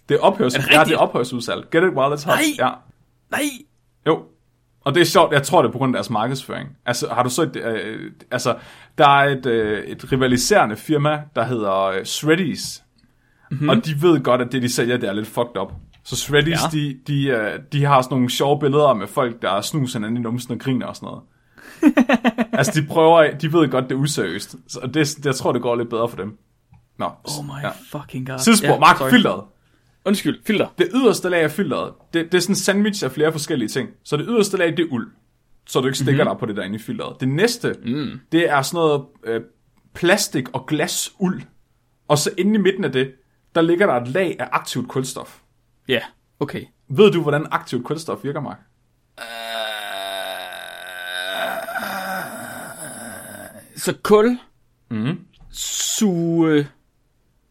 Speaker 2: Det er ophørs,
Speaker 1: Er det
Speaker 2: ja, det
Speaker 1: rigtigt?
Speaker 2: er ophørsudsalg. Get it while it's hot.
Speaker 1: Nej!
Speaker 2: Ja.
Speaker 1: Nej!
Speaker 2: Jo. Og det er sjovt, jeg tror det er på grund af deres markedsføring. Altså, har du så et, øh, altså, der er et, øh, et rivaliserende firma, der hedder øh, Shreddies.
Speaker 1: Mhm.
Speaker 2: Mm-hmm. Og de ved godt, at det de sælger, det er lidt fucked up. Så Shreddies, ja.
Speaker 1: Ja.
Speaker 2: de, de, øh, de har sådan nogle sjove billeder med folk, der snuser hinanden i numsen og griner og
Speaker 1: (laughs)
Speaker 2: sådan noget. altså, de prøver, de ved godt, det er useriøst. Så det, det, jeg tror, det går lidt bedre for dem. Nå,
Speaker 1: Oh my
Speaker 2: ja.
Speaker 1: fucking god.
Speaker 2: Sidespor, ja, Mark,
Speaker 1: sorry.
Speaker 2: filteret.
Speaker 1: Undskyld, filter.
Speaker 2: Det yderste lag af filteret, det, det er sådan en sandwich af flere forskellige ting. Så det yderste lag, det er uld. Så du ikke stikker mm-hmm. dig på det der inde i filteret. Det næste, mm. det er sådan noget øh, plastik og glas uld. Og så inde i midten af det, der ligger der et lag af aktivt kulstof.
Speaker 1: Ja, yeah. okay.
Speaker 2: Ved du, hvordan aktivt kulstof virker, Mark?
Speaker 1: Så kul. Mm. Suge.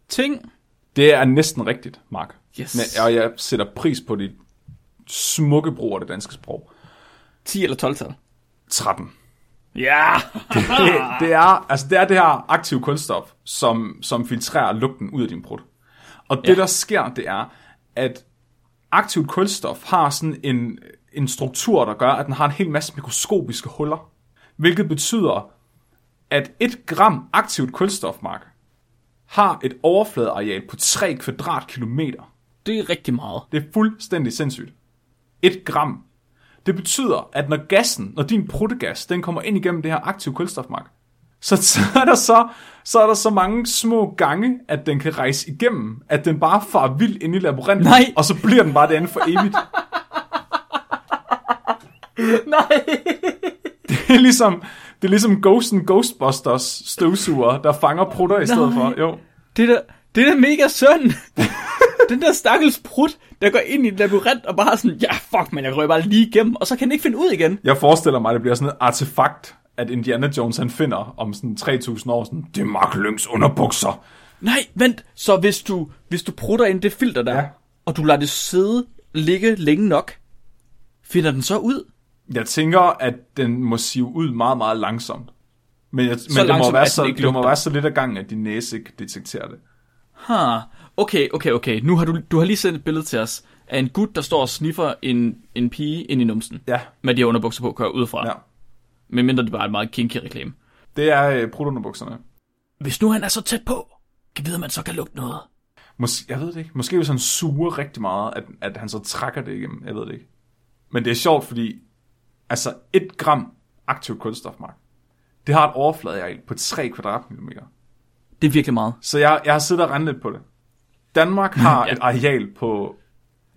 Speaker 1: Ting.
Speaker 2: Det er næsten rigtigt, Mark.
Speaker 1: Yes.
Speaker 2: Men, og jeg sætter pris på dit smukke brug af det danske sprog.
Speaker 1: 10 eller 12 tal.
Speaker 2: 13.
Speaker 1: Ja.
Speaker 2: Det, det, er, altså det er det her aktive kunststof, som, som filtrerer lugten ud af din brud. Og det, ja.
Speaker 1: Ja.
Speaker 2: der sker, det er, at aktivt kulstof har sådan en, en struktur, der gør, at den har en hel masse mikroskopiske huller. Hvilket betyder, at et gram aktivt kulstofmark har et overfladeareal på 3 kvadratkilometer.
Speaker 1: Det er rigtig meget.
Speaker 2: Det er fuldstændig sindssygt. Et gram. Det betyder, at når gassen, når din protegas, den kommer ind igennem det her aktive kulstofmark, så, så, er der så, så er der så mange små gange, at den kan rejse igennem, at den bare farer vildt ind i labyrinten,
Speaker 1: Nej.
Speaker 2: og så bliver den bare derinde for evigt.
Speaker 1: (laughs) Nej.
Speaker 2: Det er ligesom, det er ligesom Ghosten Ghostbusters støvsuger, der fanger prutter i stedet
Speaker 1: Nej.
Speaker 2: for. Jo.
Speaker 1: Det der, det der mega (laughs) synd. den der stakkels prut, der går ind i en labyrint og bare sådan, ja fuck, men jeg rører bare lige igennem, og så kan den ikke finde ud igen.
Speaker 2: Jeg forestiller mig, at det bliver sådan et artefakt, at Indiana Jones han finder om sådan 3000 år. Sådan, det er Mark Lynx underbukser.
Speaker 1: Nej, vent. Så hvis du, hvis du prutter ind i det filter der,
Speaker 2: Ja.
Speaker 1: ja. og du lader det sidde, ligge længe nok, finder den så ud?
Speaker 2: Jeg tænker, at den må sive ud meget, meget langsomt. Men, jeg, men det, må
Speaker 1: langsomt,
Speaker 2: være
Speaker 1: at
Speaker 2: så,
Speaker 1: den ikke
Speaker 2: det må
Speaker 1: lugter.
Speaker 2: være så lidt ad gangen, at din næse ikke detekterer det.
Speaker 1: Ha, okay, okay, okay. Nu har du, du har lige sendt et billede til os af en gut, der står og sniffer en, en pige ind i numsen.
Speaker 2: Ja,
Speaker 1: Med de her underbukser på, kører ud fra.
Speaker 2: Ja.
Speaker 1: Ja. Men mindre det bare er en meget kinky reklame.
Speaker 2: det er øh, prutunderbukserne.
Speaker 1: Hvis nu han er så tæt på, kan vide, om man så kan lugte noget.
Speaker 2: Mås- jeg ved det ikke. Måske hvis han suger rigtig meget, at, at han så trækker det igennem. Jeg ved det ikke. Men det er sjovt, fordi altså et gram aktiv kulstofmark, det har et overfladeareal på 3 kvadratkilometer.
Speaker 1: Det er virkelig meget.
Speaker 2: Så jeg, jeg har siddet og regnet lidt på det. Danmark har
Speaker 1: Ja.
Speaker 2: et areal på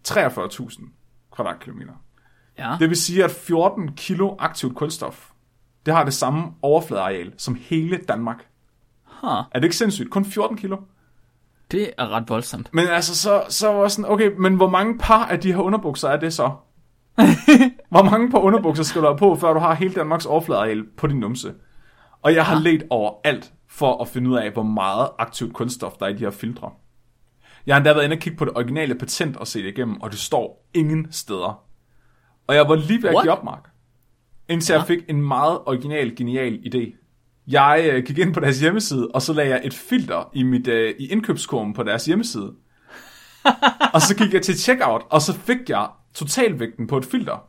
Speaker 2: 43.000 kvadratkilometer.
Speaker 1: Ja. Det...
Speaker 2: Det vil sige, at 14 kilo aktivt kulstof, det har det samme overfladeareal som hele Danmark.
Speaker 1: Ha,
Speaker 2: Er det ikke sindssygt? Kun 14 kilo?
Speaker 1: det er ret voldsomt.
Speaker 2: (laughs) Men altså, så, så var jeg sådan, okay, men hvor mange par af de her underbukser er det så? hvor mange par underbukser skal du have på, før du har hele Danmarks overfladeareal på din numse? Og jeg har let over alt for at finde ud af, hvor meget aktivt kunststof der er i de her filtre. Jeg har endda været inde og kigge på det originale patent og se det igennem, og det står ingen steder. Og jeg var lige ved at
Speaker 1: What?
Speaker 2: give op, Mark. Indtil ja. jeg fik en meget original, genial idé. Jeg øh, gik ind på deres hjemmeside, og så lagde jeg et filter i, mit, øh, i indkøbskurven på deres hjemmeside. og så gik jeg til checkout, og så fik jeg totalvægten på et filter.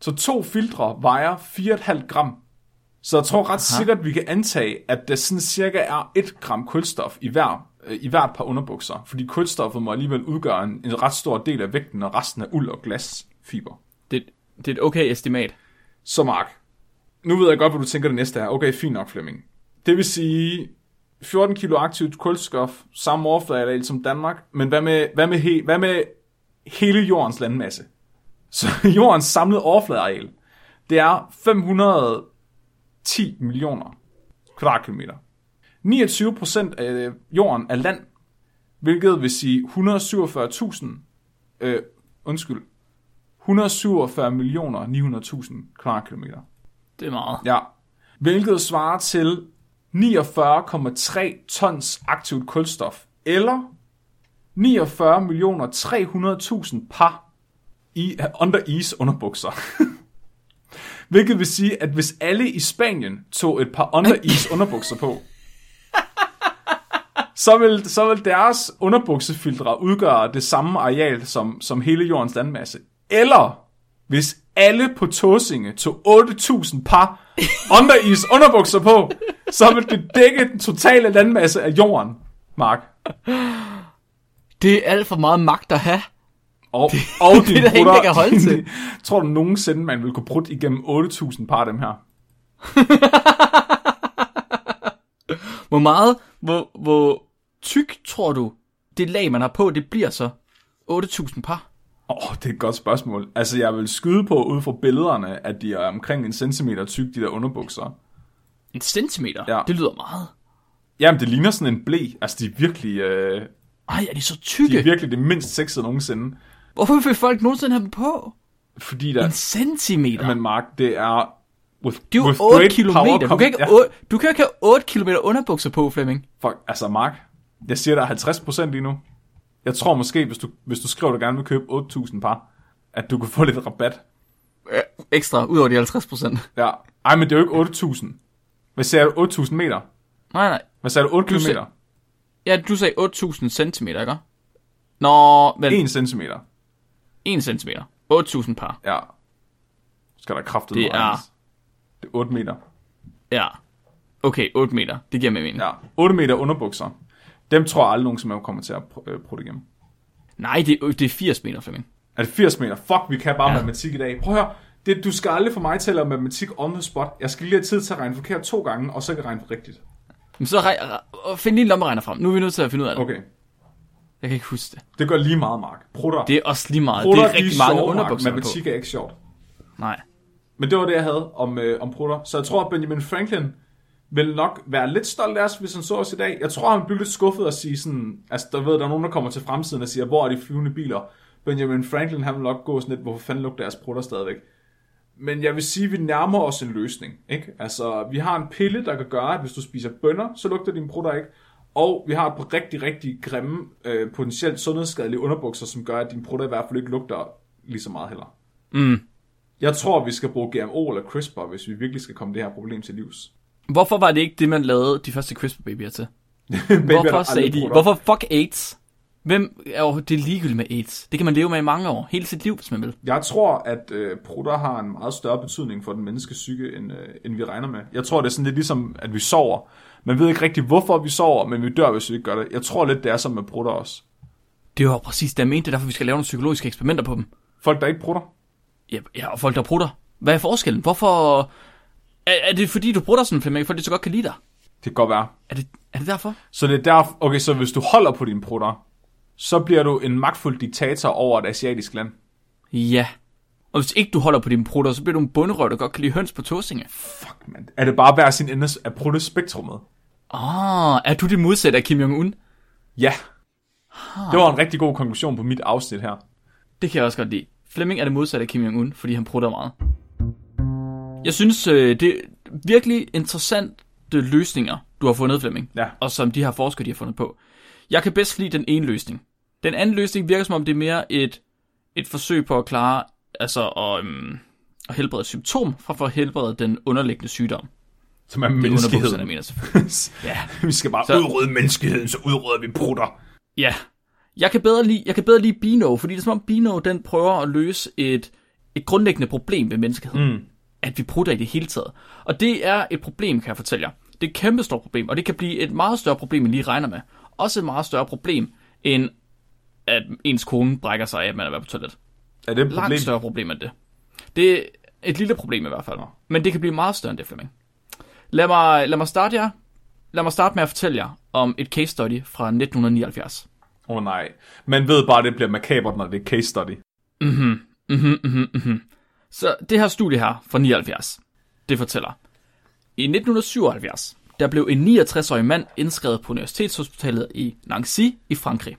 Speaker 2: Så to filtre vejer 4,5 gram. Så jeg tror ret Aha. sikkert, vi kan antage, at der sådan cirka er 1 gram kulstof i hver øh, i hvert par underbukser, fordi kulstoffet må alligevel udgøre en, en ret stor del af vægten, og resten er uld og glasfiber.
Speaker 1: Det, det er et okay estimat.
Speaker 2: Så Mark, nu ved jeg godt, hvad du tænker det næste er. Okay, fint nok, Flemming. Det vil sige 14 kilo aktivt kulstof, samme overfladeareal som Danmark, men hvad med, hvad, med he, hvad med hele jordens landmasse? Så (laughs) jordens samlede overfladeareal, det er 510 millioner kvadratkilometer. 29 procent af øh, jorden er land, hvilket vil sige 147.000, øh, undskyld, 147 millioner 900.000 kvadratkilometer.
Speaker 1: Det er meget.
Speaker 2: Ja. Hvilket svarer til 49,3 tons aktivt kulstof, eller 49 millioner 300.000 par i under is underbukser. (laughs) Hvilket vil sige, at hvis alle i Spanien tog et par under is underbukser på, så vil, så vil deres underbuksefiltre udgøre det samme areal som, som hele jordens landmasse. Eller hvis alle på Tåsinge tog 8.000 par underis underbukser på, så vil det dække den totale landmasse af jorden, Mark.
Speaker 1: Det er alt for meget magt at have.
Speaker 2: Og, og
Speaker 1: det er
Speaker 2: din
Speaker 1: der ingen, der kan holde
Speaker 2: din-
Speaker 1: til.
Speaker 2: (laughs) Tror du nogensinde, man vil kunne brudt igennem 8.000 par af dem her?
Speaker 1: Hvor meget, hvor, hvor tyk tror du, det lag, man har på, det bliver så 8.000 par?
Speaker 2: Åh, oh, det er et godt spørgsmål. Altså, jeg vil skyde på, ud fra billederne, at de er omkring en centimeter tyk, de der underbukser.
Speaker 1: En centimeter?
Speaker 2: Ja.
Speaker 1: Det lyder meget.
Speaker 2: Jamen, det ligner sådan en blæ. Altså, de er virkelig, øh,
Speaker 1: Ej, er de så
Speaker 2: de
Speaker 1: tykke?
Speaker 2: er virkelig det mindst sexede nogensinde.
Speaker 1: Hvorfor vil folk nogensinde have dem på?
Speaker 2: Fordi
Speaker 1: En
Speaker 2: der...
Speaker 1: centimeter?
Speaker 2: Men Mark, det er... With,
Speaker 1: det er jo
Speaker 2: with
Speaker 1: 8
Speaker 2: great power
Speaker 1: kilometer. Du
Speaker 2: come-
Speaker 1: kan, ikke,
Speaker 2: Ja.
Speaker 1: ja. 8, du kan ikke have 8 kilometer underbukser på, Flemming.
Speaker 2: Fuck, altså Mark, jeg siger, der er 50% lige nu. Jeg tror måske, hvis du, hvis du skriver, at du gerne vil købe 8.000 par, at du kan få lidt rabat.
Speaker 1: Øh, Ekstra, ud over de 50 procent.
Speaker 2: Ja. Ej, men det er jo ikke 8.000. Hvad sagde du? 8.000 meter?
Speaker 1: Nej, nej.
Speaker 2: Hvad sagde du? 8
Speaker 1: Du sagde-
Speaker 2: kilometer?
Speaker 1: Ja, du sagde 8.000 centimeter, ikke? Nå, vel,
Speaker 2: 1 centimeter.
Speaker 1: 1 centimeter. 8.000 par.
Speaker 2: Ja. Skal der kraftet
Speaker 1: Det er-
Speaker 2: Det er 8 meter.
Speaker 1: Ja. Okay, 8 meter. Det giver mig mening.
Speaker 2: Ja, 8 meter underbukser. Dem tror jeg aldrig nogensinde, kommer til at pr- øh, prutte igennem.
Speaker 1: Nej, det, er- det er 80 meter, Flemming.
Speaker 2: Er det 80 meter? Fuck, vi kan bare
Speaker 1: Ja.
Speaker 2: ja. matematik i dag. Prøv at høre. Det, du skal aldrig få mig til at lave matematik on the spot. Jeg skal lige have tid til at regne forkert to gange, og så kan jeg regne rigtigt.
Speaker 1: Men så reg- re- og find lige en lommeregner frem. Nu er vi nødt til at finde ud af det.
Speaker 2: Okay,
Speaker 1: Jeg kan ikke huske det.
Speaker 2: det gør lige meget, Mark. Prutter.
Speaker 1: Det er også lige meget.
Speaker 2: prutter
Speaker 1: det er rigtig mange underbukser på.
Speaker 2: Matematik er ikke sjovt.
Speaker 1: Nej.
Speaker 2: Men det var det, jeg havde om, øh, om prutter. Så jeg tror, at Benjamin Franklin vil nok være lidt stolt af os, hvis han så os i dag. Jeg tror, han bliver lidt skuffet og sige sådan... Altså, der ved, der er nogen, der kommer til fremtiden og siger, hvor er de flyvende biler? Benjamin Franklin, han vil nok gå sådan lidt, hvorfor fanden lugter deres prutter stadigvæk? Men jeg vil sige, at vi nærmer os en løsning. Ikke? Altså, vi har en pille, der kan gøre, at hvis du spiser bønner, så lugter dine prutter ikke. Og vi har et par rigtig, rigtig grimme, øh, potentielt sundhedsskadelige underbukser, som gør, at dine prutter i hvert fald ikke lugter lige så meget heller.
Speaker 1: Mm.
Speaker 2: Jeg tror, vi skal bruge GMO eller CRISPR, hvis vi virkelig skal komme det her problem til livs. (laughs)
Speaker 1: Hvorfor var det ikke det, man lavede de første CRISPR-babyer til?
Speaker 2: Baby, er der
Speaker 1: Hvorfor
Speaker 2: aldrig
Speaker 1: sagde de,
Speaker 2: prutter.
Speaker 1: hvorfor fuck AIDS? Hvem, oh, det er ligegyldigt med AIDS. Det kan man leve med i mange år. Hele sit liv, hvis man vil.
Speaker 2: Jeg tror, at øh, prutter har en meget større betydning for den menneske psyke, end, øh, end vi regner med. Jeg tror, det er sådan lidt ligesom, at vi sover. Man ved ikke rigtig, hvorfor vi sover, men vi dør, hvis vi ikke gør det. Jeg tror lidt, det er som med prutter også.
Speaker 1: Det var præcis det, jeg mente. Det er derfor, vi skal lave nogle psykologiske eksperimenter på dem.
Speaker 2: Folk, der ikke prutter.
Speaker 1: Ja, ja og folk, der prutter. Hvad er forskellen? Hvorfor... Er, er det fordi, du prutter sådan, Flemming, fordi de så godt kan lide dig?
Speaker 2: Det kan godt være.
Speaker 1: Er det, er det derfor?
Speaker 2: Så det er der... Okay, så hvis du holder på dine prutter, så bliver du en magtfuld diktator over et asiatisk land.
Speaker 1: Ja. Og hvis ikke du holder på dine prutter, så bliver du en bunderøv, der godt kan lide høns på tåsinge.
Speaker 2: Fuck, mand. Er det bare hver sin ende af pruttespektrummet?
Speaker 1: Åh, oh, er du det modsatte af Kim Jong-un?
Speaker 2: Ja. Det var en rigtig god konklusion på mit afsnit her.
Speaker 1: Det kan jeg også godt lide. Flemming er det modsatte af Kim Jong-un, fordi han prutter meget. Jeg synes, øh, det er virkelig interessante løsninger, du har fundet, Flemming.
Speaker 2: Ja.
Speaker 1: Og som de her forskere, de har fundet på. Jeg kan bedst lide den ene løsning. Den anden løsning virker som om, det er mere et, et forsøg på at klare, altså at, øhm, at helbrede et symptom, fra for at helbrede den underliggende sygdom.
Speaker 2: Som er
Speaker 1: Det er underbukserne,
Speaker 2: (laughs) menneskeheden.
Speaker 1: mener jeg selvfølgelig. Ja.
Speaker 2: vi skal bare
Speaker 1: Så-
Speaker 2: så... udrydde menneskeheden, så udrydder vi prutter.
Speaker 1: Ja. Jeg kan bedre lide, jeg kan bedre lide Bino, fordi det er som om Bino, den prøver at løse et, et grundlæggende problem ved menneskeheden. Mm. At vi prutter i det hele taget. Og det er et problem, kan jeg fortælle jer. Det er et kæmpestort problem, og det kan blive et meget større problem, end I lige regner med. Også et meget større problem, end at ens kone brækker sig af, at man er været på toilet.
Speaker 2: Er det et
Speaker 1: Langt
Speaker 2: problem?
Speaker 1: større problem end det. Det er et lille problem i hvert fald. Men det kan blive meget større end det, Flemming. Lad mig, lad mig starte jer. Lad mig starte med at fortælle jer om et case study fra 1979.
Speaker 2: Åh oh, nej. Man ved bare, at det bliver makabert, når det er case study.
Speaker 1: Mhm, mhm, mhm. Så det her studie her fra 79, det fortæller. I 1977, der blev en 69-årig mand indskrevet på Universitetshospitalet i Nancy i Frankrig.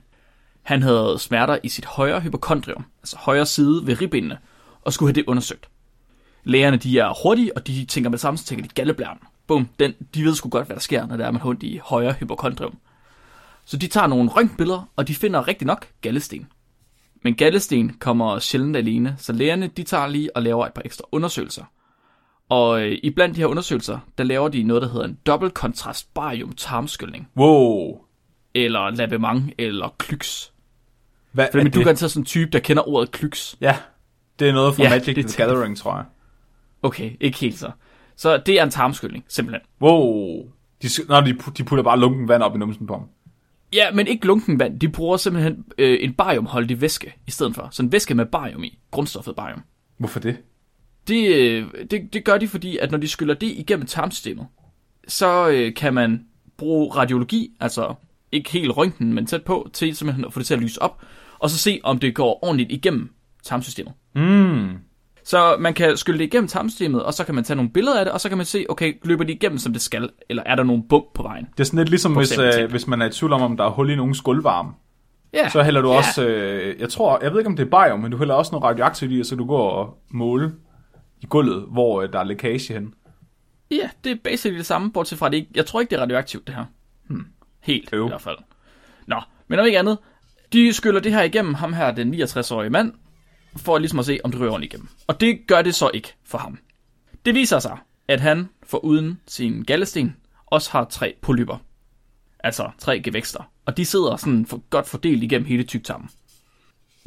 Speaker 1: Han havde smerter i sit højre hypokondrium, altså højre side ved ribbenene, og skulle have det undersøgt. Lægerne de er hurtige, og de tænker med det samme, så tænker de galleblæren. Bum, den, de ved sgu godt, hvad der sker, når der er man har ondt i højre hypokondrium. Så de tager nogle røntgenbilleder, og de finder rigtig nok gallesten. Men gallesten kommer sjældent alene, så lægerne de tager lige og laver et par ekstra undersøgelser. Og øh, iblandt de her undersøgelser, der laver de noget, der hedder en dobbeltkontrast barium tarmskyldning,
Speaker 2: Wow.
Speaker 1: eller lavement, eller klyks.
Speaker 2: Hvad
Speaker 1: For men
Speaker 2: er
Speaker 1: du
Speaker 2: det?
Speaker 1: kan tage sådan en type, der kender ordet klyks.
Speaker 2: Ja. Det er noget fra
Speaker 1: Ja,
Speaker 2: ja, Magic
Speaker 1: det
Speaker 2: the
Speaker 1: tænker-
Speaker 2: Gathering, tror jeg.
Speaker 1: Okay, ikke helt så. Så det er en tarmskyldning, simpelthen.
Speaker 2: Wow. De, s- Nå, de, pu- de putter bare lunken vand op i numsen på ham.
Speaker 1: Ja, men ikke lunken vand. De bruger simpelthen øh, en bariumholdig væske i stedet for. Sådan en væske med barium i. Grundstoffet barium.
Speaker 2: Hvorfor det?
Speaker 1: Det, øh, det, det gør de, fordi at når de skyller det igennem tarmsystemet, så øh, kan man bruge radiologi, altså ikke helt røntgen, men tæt på, til simpelthen at få det til at lyse op, og så se, om det går ordentligt igennem tarmsystemet. Hmm.
Speaker 2: Mm.
Speaker 1: Så man kan skylle det igennem tarmsystemet, og så kan man tage nogle billeder af det, og så kan man se, okay, løber det igennem, som det skal, eller er der nogle bump på vejen?
Speaker 2: Det er sådan lidt ligesom, hvis,
Speaker 1: eksempel
Speaker 2: øh,
Speaker 1: tænkt.
Speaker 2: hvis man er i tvivl om, om der er hul i nogen skuldvarme.
Speaker 1: Ja,
Speaker 2: Så hælder du
Speaker 1: ja.
Speaker 2: også, øh, jeg tror, jeg ved ikke om det er barium, men du hælder også noget radioaktivt i, og så du går og måle i gulvet, hvor øh, der er lækage hen.
Speaker 1: Ja, det er basically det samme, bortset fra, at det ikke, jeg tror ikke, det er radioaktivt, det her. Hmm. Helt, Øv.
Speaker 2: Øv.
Speaker 1: i hvert fald. Nå, men om ikke andet, de skyller det her igennem ham her, den 69-årige mand, for ligesom at se, om det ryger ordentligt igennem. Og det gør det så ikke for ham. Det viser sig, at han, foruden sin gallesten, også har tre polypper. Altså tre gevækster. Og de sidder sådan for, godt fordelt igennem hele tyktarmen.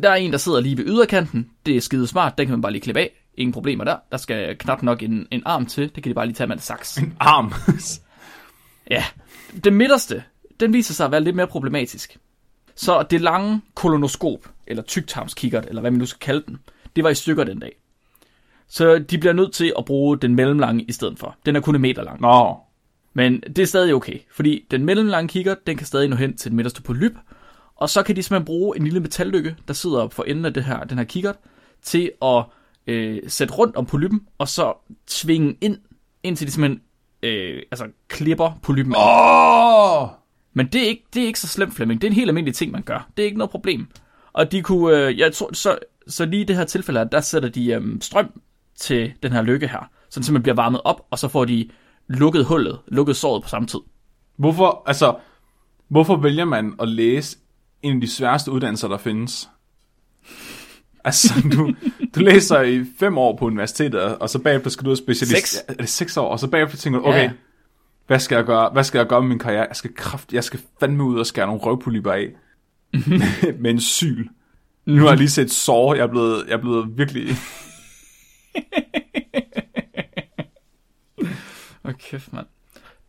Speaker 1: Der er en, der sidder lige ved yderkanten. Det er skide smart. Den kan man bare lige klippe af. Ingen problemer der. Der skal knap nok en, en arm til. Det kan de bare lige tage med en saks.
Speaker 2: En arm. (laughs)
Speaker 1: Ja, den midterste, den viser sig at være lidt mere problematisk. Så det lange kolonoskop, eller tyktarmskikkert, eller hvad man nu skal kalde den, det var i stykker den dag. Så de bliver nødt til at bruge den mellemlange i stedet for. Den er kun en meter lang.
Speaker 2: Nå,
Speaker 1: Men det er stadig okay, fordi den mellemlange kigger, den kan stadig nå hen til den midterste polyp, og så kan de simpelthen bruge en lille metallykke, der sidder op for enden af det her, den her kikkert, til at øh, sætte rundt om polyppen, og så tvinge ind, indtil de simpelthen øh, altså klipper polyppen. Oh.
Speaker 2: Åh!
Speaker 1: Men det er, ikke, det er ikke så slemt, Flemming. Det er en helt almindelig ting, man gør. Det er ikke noget problem. Og de kunne, øh, jeg tror, så, så lige i det her tilfælde her, der sætter de øh, strøm til den her lykke her, så den simpelthen bliver varmet op, og så får de lukket hullet, lukket såret på samme tid.
Speaker 2: Hvorfor, altså, hvorfor vælger man at læse en af de sværeste uddannelser, der findes? Altså, du, du læser i fem år på universitetet, og og så bagefter skal du ud og specialist.
Speaker 1: Seks.
Speaker 2: Er det seks år? Og så bagefter tænker du,
Speaker 1: Ja.
Speaker 2: okay, hvad skal jeg gøre? Hvad skal jeg gøre med min karriere? Jeg skal, kraft, jeg skal fandme ud og skære nogle røvpolyper af.
Speaker 1: Mhm.
Speaker 2: (laughs) med en syl. Nu har jeg lige set sår. Jeg er blevet, jeg er blevet virkelig...
Speaker 1: Åh, kæft, mand.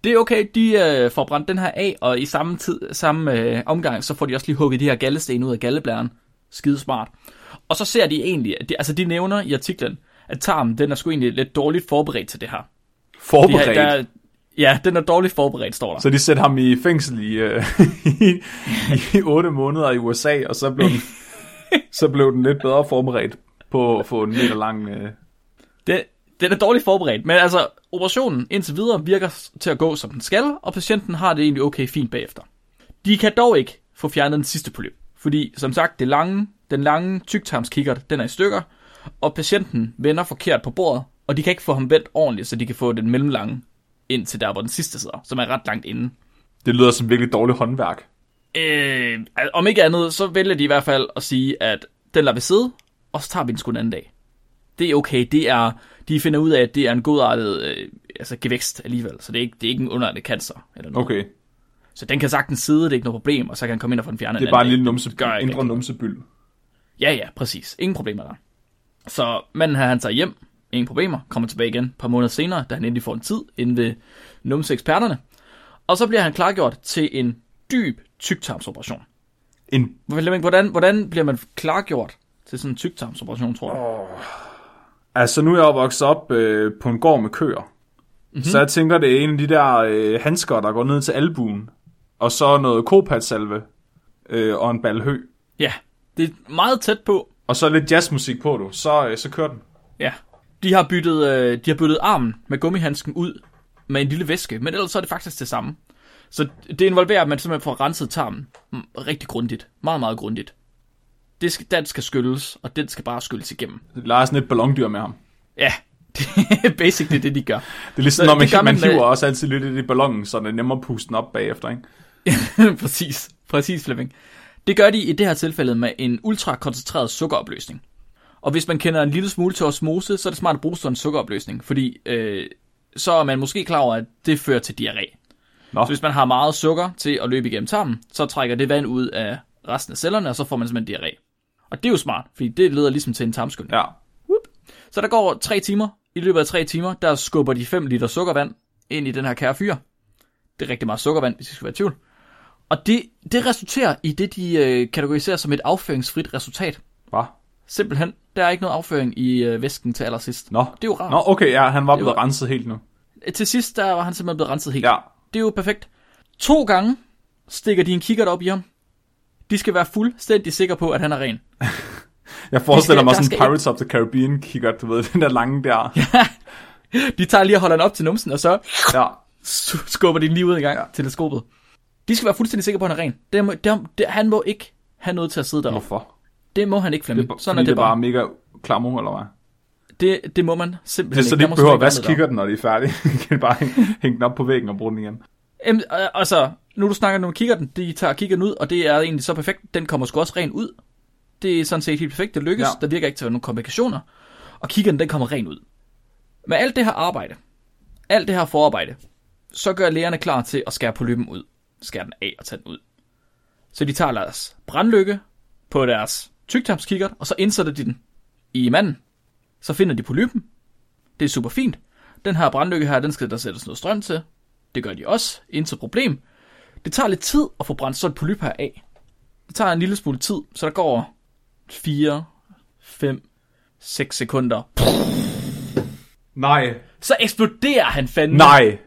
Speaker 1: Det er okay, de øh, får brændt den her af, og i samme tid, samme øh, omgang, så får de også lige hugget de her gallesten ud af galleblæren. Skide smart. Og så ser de egentlig, at de, altså de nævner i artiklen, at tarmen, den er sgu egentlig lidt dårligt forberedt til det her. De her
Speaker 2: forberedt.
Speaker 1: der, ja, den er dårligt forberedt, står der.
Speaker 2: Så de sætter ham i fængsel i, øh, (laughs) i, i 8 måneder i USA, og så blev (laughs) den, så blev den lidt bedre forberedt på at få en meter lang... Øh.
Speaker 1: Det, den er dårligt forberedt, men altså, operationen indtil videre virker s- til at gå, som den skal, og patienten har det egentlig okay fint bagefter. De kan dog ikke få fjernet den sidste polyp, fordi som sagt, det lange, den lange tyktarmskikkert, den er i stykker, og patienten vender forkert på bordet, og de kan ikke få ham vendt ordentligt, så de kan få den mellemlange ind til der, hvor den sidste sidder, som er ret langt inde.
Speaker 2: Det lyder som virkelig dårligt håndværk.
Speaker 1: Øh, al- om ikke andet, så vælger de i hvert fald at sige, at den lader vi sidde, og så tager vi den sgu en anden dag. Det er okay, det er, de finder ud af, at det er en godartet øh, altså gevækst alligevel, så det er ikke, det er ikke en underartet cancer. Eller noget.
Speaker 2: Okay,
Speaker 1: Så den kan sagtens sidde, det er ikke noget problem, og så kan han komme ind og få den fjernet
Speaker 2: det er
Speaker 1: en
Speaker 2: bare en
Speaker 1: anden
Speaker 2: lille
Speaker 1: dag.
Speaker 2: numse,
Speaker 1: gør jeg ikke
Speaker 2: indre numsebyld.
Speaker 1: Ja, ja, præcis. Ingen problemer der. Så manden her, han tager hjem. Ingen problemer. Kommer tilbage igen et par måneder senere, da han endelig får en tid inde ved numse-eksperterne. Og så bliver han klargjort til en dyb tyktarmsoperation.
Speaker 2: En,
Speaker 1: Flemming, Hvordan, hvordan bliver man klargjort til sådan en tyktarmsoperation, tror du?
Speaker 2: altså, nu er jeg jo vokset op øh, på en gård med køer. Mm-hmm. Så jeg tænker, det er en af de der øh, handsker, der går ned til albuen. Og så noget kopatsalve øh, og en balhø.
Speaker 1: Ja, det er meget tæt på.
Speaker 2: Og så lidt jazzmusik på, du. Så, øh, så kører den.
Speaker 1: Ja. De har byttet, øh, de har byttet armen med gummihandsken ud med en lille væske, men ellers så er det faktisk det samme. Så det involverer, at man simpelthen får renset tarmen mm, rigtig grundigt. Meget, meget grundigt. Det skal, den skal skylles, og den skal bare skylles igennem.
Speaker 2: Leger sådan et ballondyr med ham.
Speaker 1: Ja, (laughs) det er basically det, de gør.
Speaker 2: Det er ligesom,
Speaker 1: Så
Speaker 2: når man,
Speaker 1: det gør
Speaker 2: man, man
Speaker 1: man med-
Speaker 2: hiver også altid lidt i ballonen, så det er nemmere at puste den op bagefter, ikke?
Speaker 1: (laughs) præcis, præcis Flemming. Det gør de i det her tilfælde med en ultrakoncentreret sukkeropløsning. Og hvis man kender en lille smule til osmose, så er det smart at bruge sådan en sukkeropløsning, fordi øh, så er man måske klar over, at det fører til diarré.
Speaker 2: Nå.
Speaker 1: Så hvis man har meget sukker til at løbe igennem tarmen, så trækker det vand ud af resten af cellerne, og så får man simpelthen diarré. Og det er jo smart, fordi det leder ligesom til en tarmskyld.
Speaker 2: Ja.
Speaker 1: Så der går tre timer. I løbet af tre timer, der skubber de 5 liter sukkervand ind i den her kære fyr. Det er rigtig meget sukkervand, hvis I skal være i tvivl. Og det, det resulterer i det, de øh, kategoriserer som et afføringsfrit resultat.
Speaker 2: Hvad?
Speaker 1: Simpelthen, der er ikke noget afføring i øh, væsken til allersidst.
Speaker 2: Nå.
Speaker 1: Det er jo rart.
Speaker 2: Nå, okay, ja, han var blevet
Speaker 1: var-
Speaker 2: renset helt nu.
Speaker 1: Til sidst, der var han simpelthen blevet renset helt.
Speaker 2: Ja.
Speaker 1: Det er jo perfekt. To gange stikker de en kikkert op i ham. De skal være fuldstændig sikre på, at han er ren. (laughs)
Speaker 2: Jeg forestiller
Speaker 1: skal-
Speaker 2: mig
Speaker 1: der
Speaker 2: sådan
Speaker 1: skal-
Speaker 2: Pirates of the Caribbean kigger, du ved, (laughs) den der lange der.
Speaker 1: De tager lige og holder han op til numsen, og så
Speaker 2: Ja.
Speaker 1: sk- skubber de lige ud i gang ja. teleskopet. De skal være fuldstændig sikre på, at han er ren. Det må, det, det, han må ikke have noget til at sidde deroppe.
Speaker 2: Hvorfor?
Speaker 1: Det må han ikke,
Speaker 2: Det er,
Speaker 1: Flemming.
Speaker 2: bare-
Speaker 1: Sådan
Speaker 2: fordi
Speaker 1: er det bare.
Speaker 2: mega klammer, eller hvad?
Speaker 1: Det, det må man simpelthen
Speaker 2: Det er så,
Speaker 1: ikke.
Speaker 2: de
Speaker 1: Der
Speaker 2: ikke
Speaker 1: må sgu
Speaker 2: behøver at
Speaker 1: ikke være
Speaker 2: vaske
Speaker 1: noget deroppe.
Speaker 2: kigger den, når de er færdige. (laughs) de kan bare hæng- hænge den op på væggen og bruge den igen.
Speaker 1: Jamen, øh, altså, nu du snakker nu om kigger den, de tager kigger den ud, og det er egentlig så perfekt. Den kommer sgu også ren ud. Det er sådan set helt perfekt. Det lykkes.
Speaker 2: Ja.
Speaker 1: Ja. Der virker ikke til at være nogen komplikationer. Og kiggeren, den kommer ren ud. Med alt det her arbejde, alt det her forarbejde, så gør lægerne klar til at skære polypen ud. Skære den af og tage den ud. Så de tager deres brandlykke på deres tyktarmskikkert, og så indsætter de den i manden. Så finder de polypen. Det er super fint. Den her brandlykke her, den skal der sættes noget strøm til. Det gør de også. Intet problem. Det tager lidt tid at få brændt sådan et polyp her af. Det tager en lille smule tid, så der går 4, 5, 6 sekunder.
Speaker 2: Nej.
Speaker 1: Så eksploderer han fandme.
Speaker 2: Nej.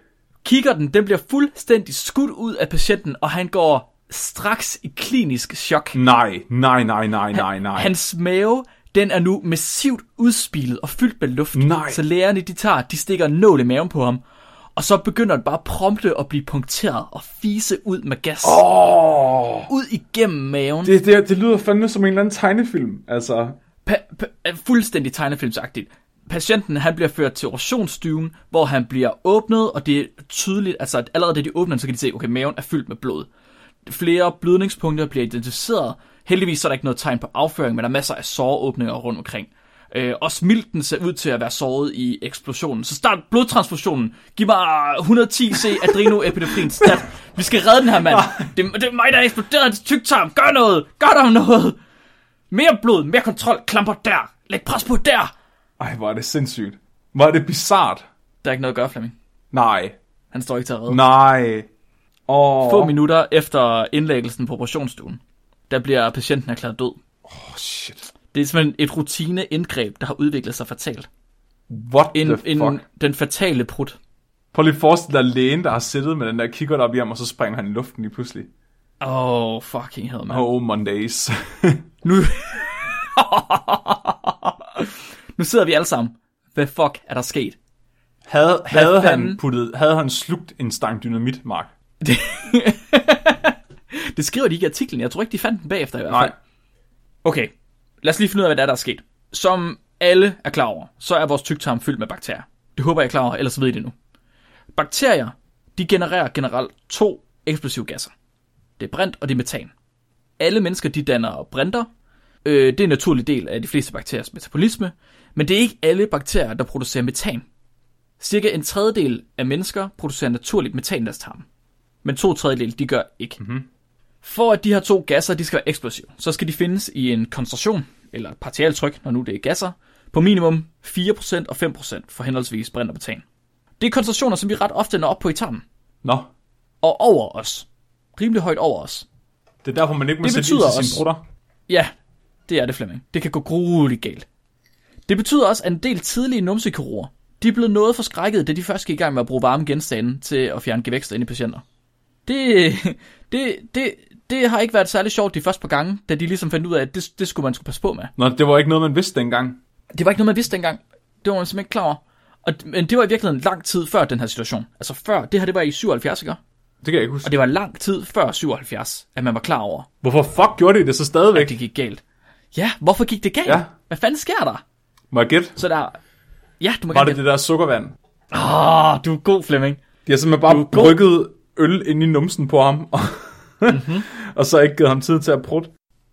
Speaker 1: Kigger den, den bliver fuldstændig skudt ud af patienten, og han går straks i klinisk chok.
Speaker 2: Nej, nej, nej, nej, nej, nej.
Speaker 1: Hans mave, den er nu massivt udspilet og fyldt med luft.
Speaker 2: Nej.
Speaker 1: Så lægerne, de tager, de stikker en nål i maven på ham. Og så begynder den bare prompte at blive punkteret og fise ud med gas. Oh.
Speaker 2: Åh,
Speaker 1: Ud igennem maven. Det...
Speaker 2: det, det, det lyder fandme som en eller anden tegnefilm, altså.
Speaker 1: Pa- pa- er fuldstændig tegnefilmsagtigt. Patienten, han bliver ført til operationsstuen, hvor han bliver åbnet, og det er tydeligt, altså at allerede da de åbner den, så kan de se, okay, maven er fyldt med blod. Flere blødningspunkter bliver identificeret. Heldigvis så er der ikke noget tegn på afføring, men der er masser af såreåbninger rundt omkring. Øh, og smilten ser ud til at være såret i eksplosionen. Så start blodtransfusionen. Giv mig 110 C adrenoepinefrin stat. Vi skal redde den her mand. Det, det er mig, der har eksploderet hans tyktarm. Gør noget. Gør der noget. Mere blod, mere kontrol. Klamper der. Læg pres på der.
Speaker 2: Ej, hvor er det sindssygt. Hvor er det bizart.
Speaker 1: Der er ikke noget at gøre, Flemming.
Speaker 2: Nej,
Speaker 1: Han står ikke til at redde.
Speaker 2: nej. Åh,
Speaker 1: Få
Speaker 2: oh,
Speaker 1: minutter efter indlæggelsen på operationsstuen, der bliver patienten erklæret død.
Speaker 2: shit.
Speaker 1: Det er simpelthen et rutineindgreb, der har udviklet sig fatalt.
Speaker 2: What
Speaker 1: En,
Speaker 2: the fuck?
Speaker 1: en, den fatale prut.
Speaker 2: Prøv lige at forestille dig lægen, der har siddet med den der kigger op i ham, og så springer han i luften lige pludselig.
Speaker 1: Åh, oh, fucking hell, man. Oh.
Speaker 2: Oh,
Speaker 1: (laughs)
Speaker 2: Mondays.
Speaker 1: Nu... nu sidder vi alle sammen. Hvad fuck er der sket?
Speaker 2: havde, havde, han
Speaker 1: fanden?
Speaker 2: puttet, havde han slugt en stang dynamit, Mark?
Speaker 1: Det skriver de ikke i artiklen. Jeg tror ikke, de fandt den bagefter i hvert fald.
Speaker 2: Nej.
Speaker 1: Nej. Okay, lad os lige finde ud af, hvad der er, der er sket. Som alle er klar over, så er vores tyktarm fyldt med bakterier. Det håber jeg er klar over, ellers ved I det nu. Bakterier, de genererer generelt to eksplosive gasser. Det er brint og det er metan. Alle mennesker, de danner brinter. Øh, det er en naturlig del af de fleste bakteriers metabolisme. Men det er ikke alle bakterier, der producerer metan. Cirka en tredjedel af mennesker producerer naturligt metan i deres tarm. Men to tredjedel, de gør ikke. For at de her to gasser de skal være eksplosive, så skal de findes i en koncentration, eller et partialtryk, når nu det er gasser, på minimum 4% og 5% for henholdsvis brint og metan. Det er koncentrationer, som vi ret ofte når op på i tarmen,
Speaker 2: Nå,
Speaker 1: og over os. Rimelig højt over os.
Speaker 2: det er derfor, man ikke må
Speaker 1: Det
Speaker 2: sætte ild
Speaker 1: betyder
Speaker 2: til
Speaker 1: også-
Speaker 2: sine brutter.
Speaker 1: Ja, det er det, Flemming. Det kan gå grueligt galt. Det betyder også, at en del tidlige numsekirurger, de er blevet noget forskrækket, da de først gik i gang med at bruge varme genstande til at fjerne gevækster ind i patienter. Det, (laughs) det, det, det har ikke været særlig sjovt de første par gange, da de ligesom fandt ud af, at det, det skulle man skulle passe på med.
Speaker 2: Nå, det var ikke noget, man vidste dengang.
Speaker 1: Det var ikke noget, man vidste dengang. Det var man simpelthen ikke klar over. Og, men det var i virkeligheden lang tid før den her situation. Altså før, det her det var i 77, ikke?
Speaker 2: Det kan jeg ikke huske.
Speaker 1: Og det var lang tid før 77, at man var klar over,
Speaker 2: Hvorfor fuck gjorde de det så stadigvæk?
Speaker 1: at det gik galt. Ja, hvorfor gik det galt?
Speaker 2: Ja.
Speaker 1: Hvad fanden sker der?
Speaker 2: Må jeg gætte?
Speaker 1: Så der... Ja, du må
Speaker 2: Var
Speaker 1: gerne...
Speaker 2: det
Speaker 1: gætte.
Speaker 2: det der sukkervand?
Speaker 1: Åh, du er god, Flemming.
Speaker 2: De har simpelthen bare
Speaker 1: god.
Speaker 2: brygget øl ind i numsen på ham, og,
Speaker 1: Mhm.
Speaker 2: (laughs) og så ikke givet ham tid til at prutte.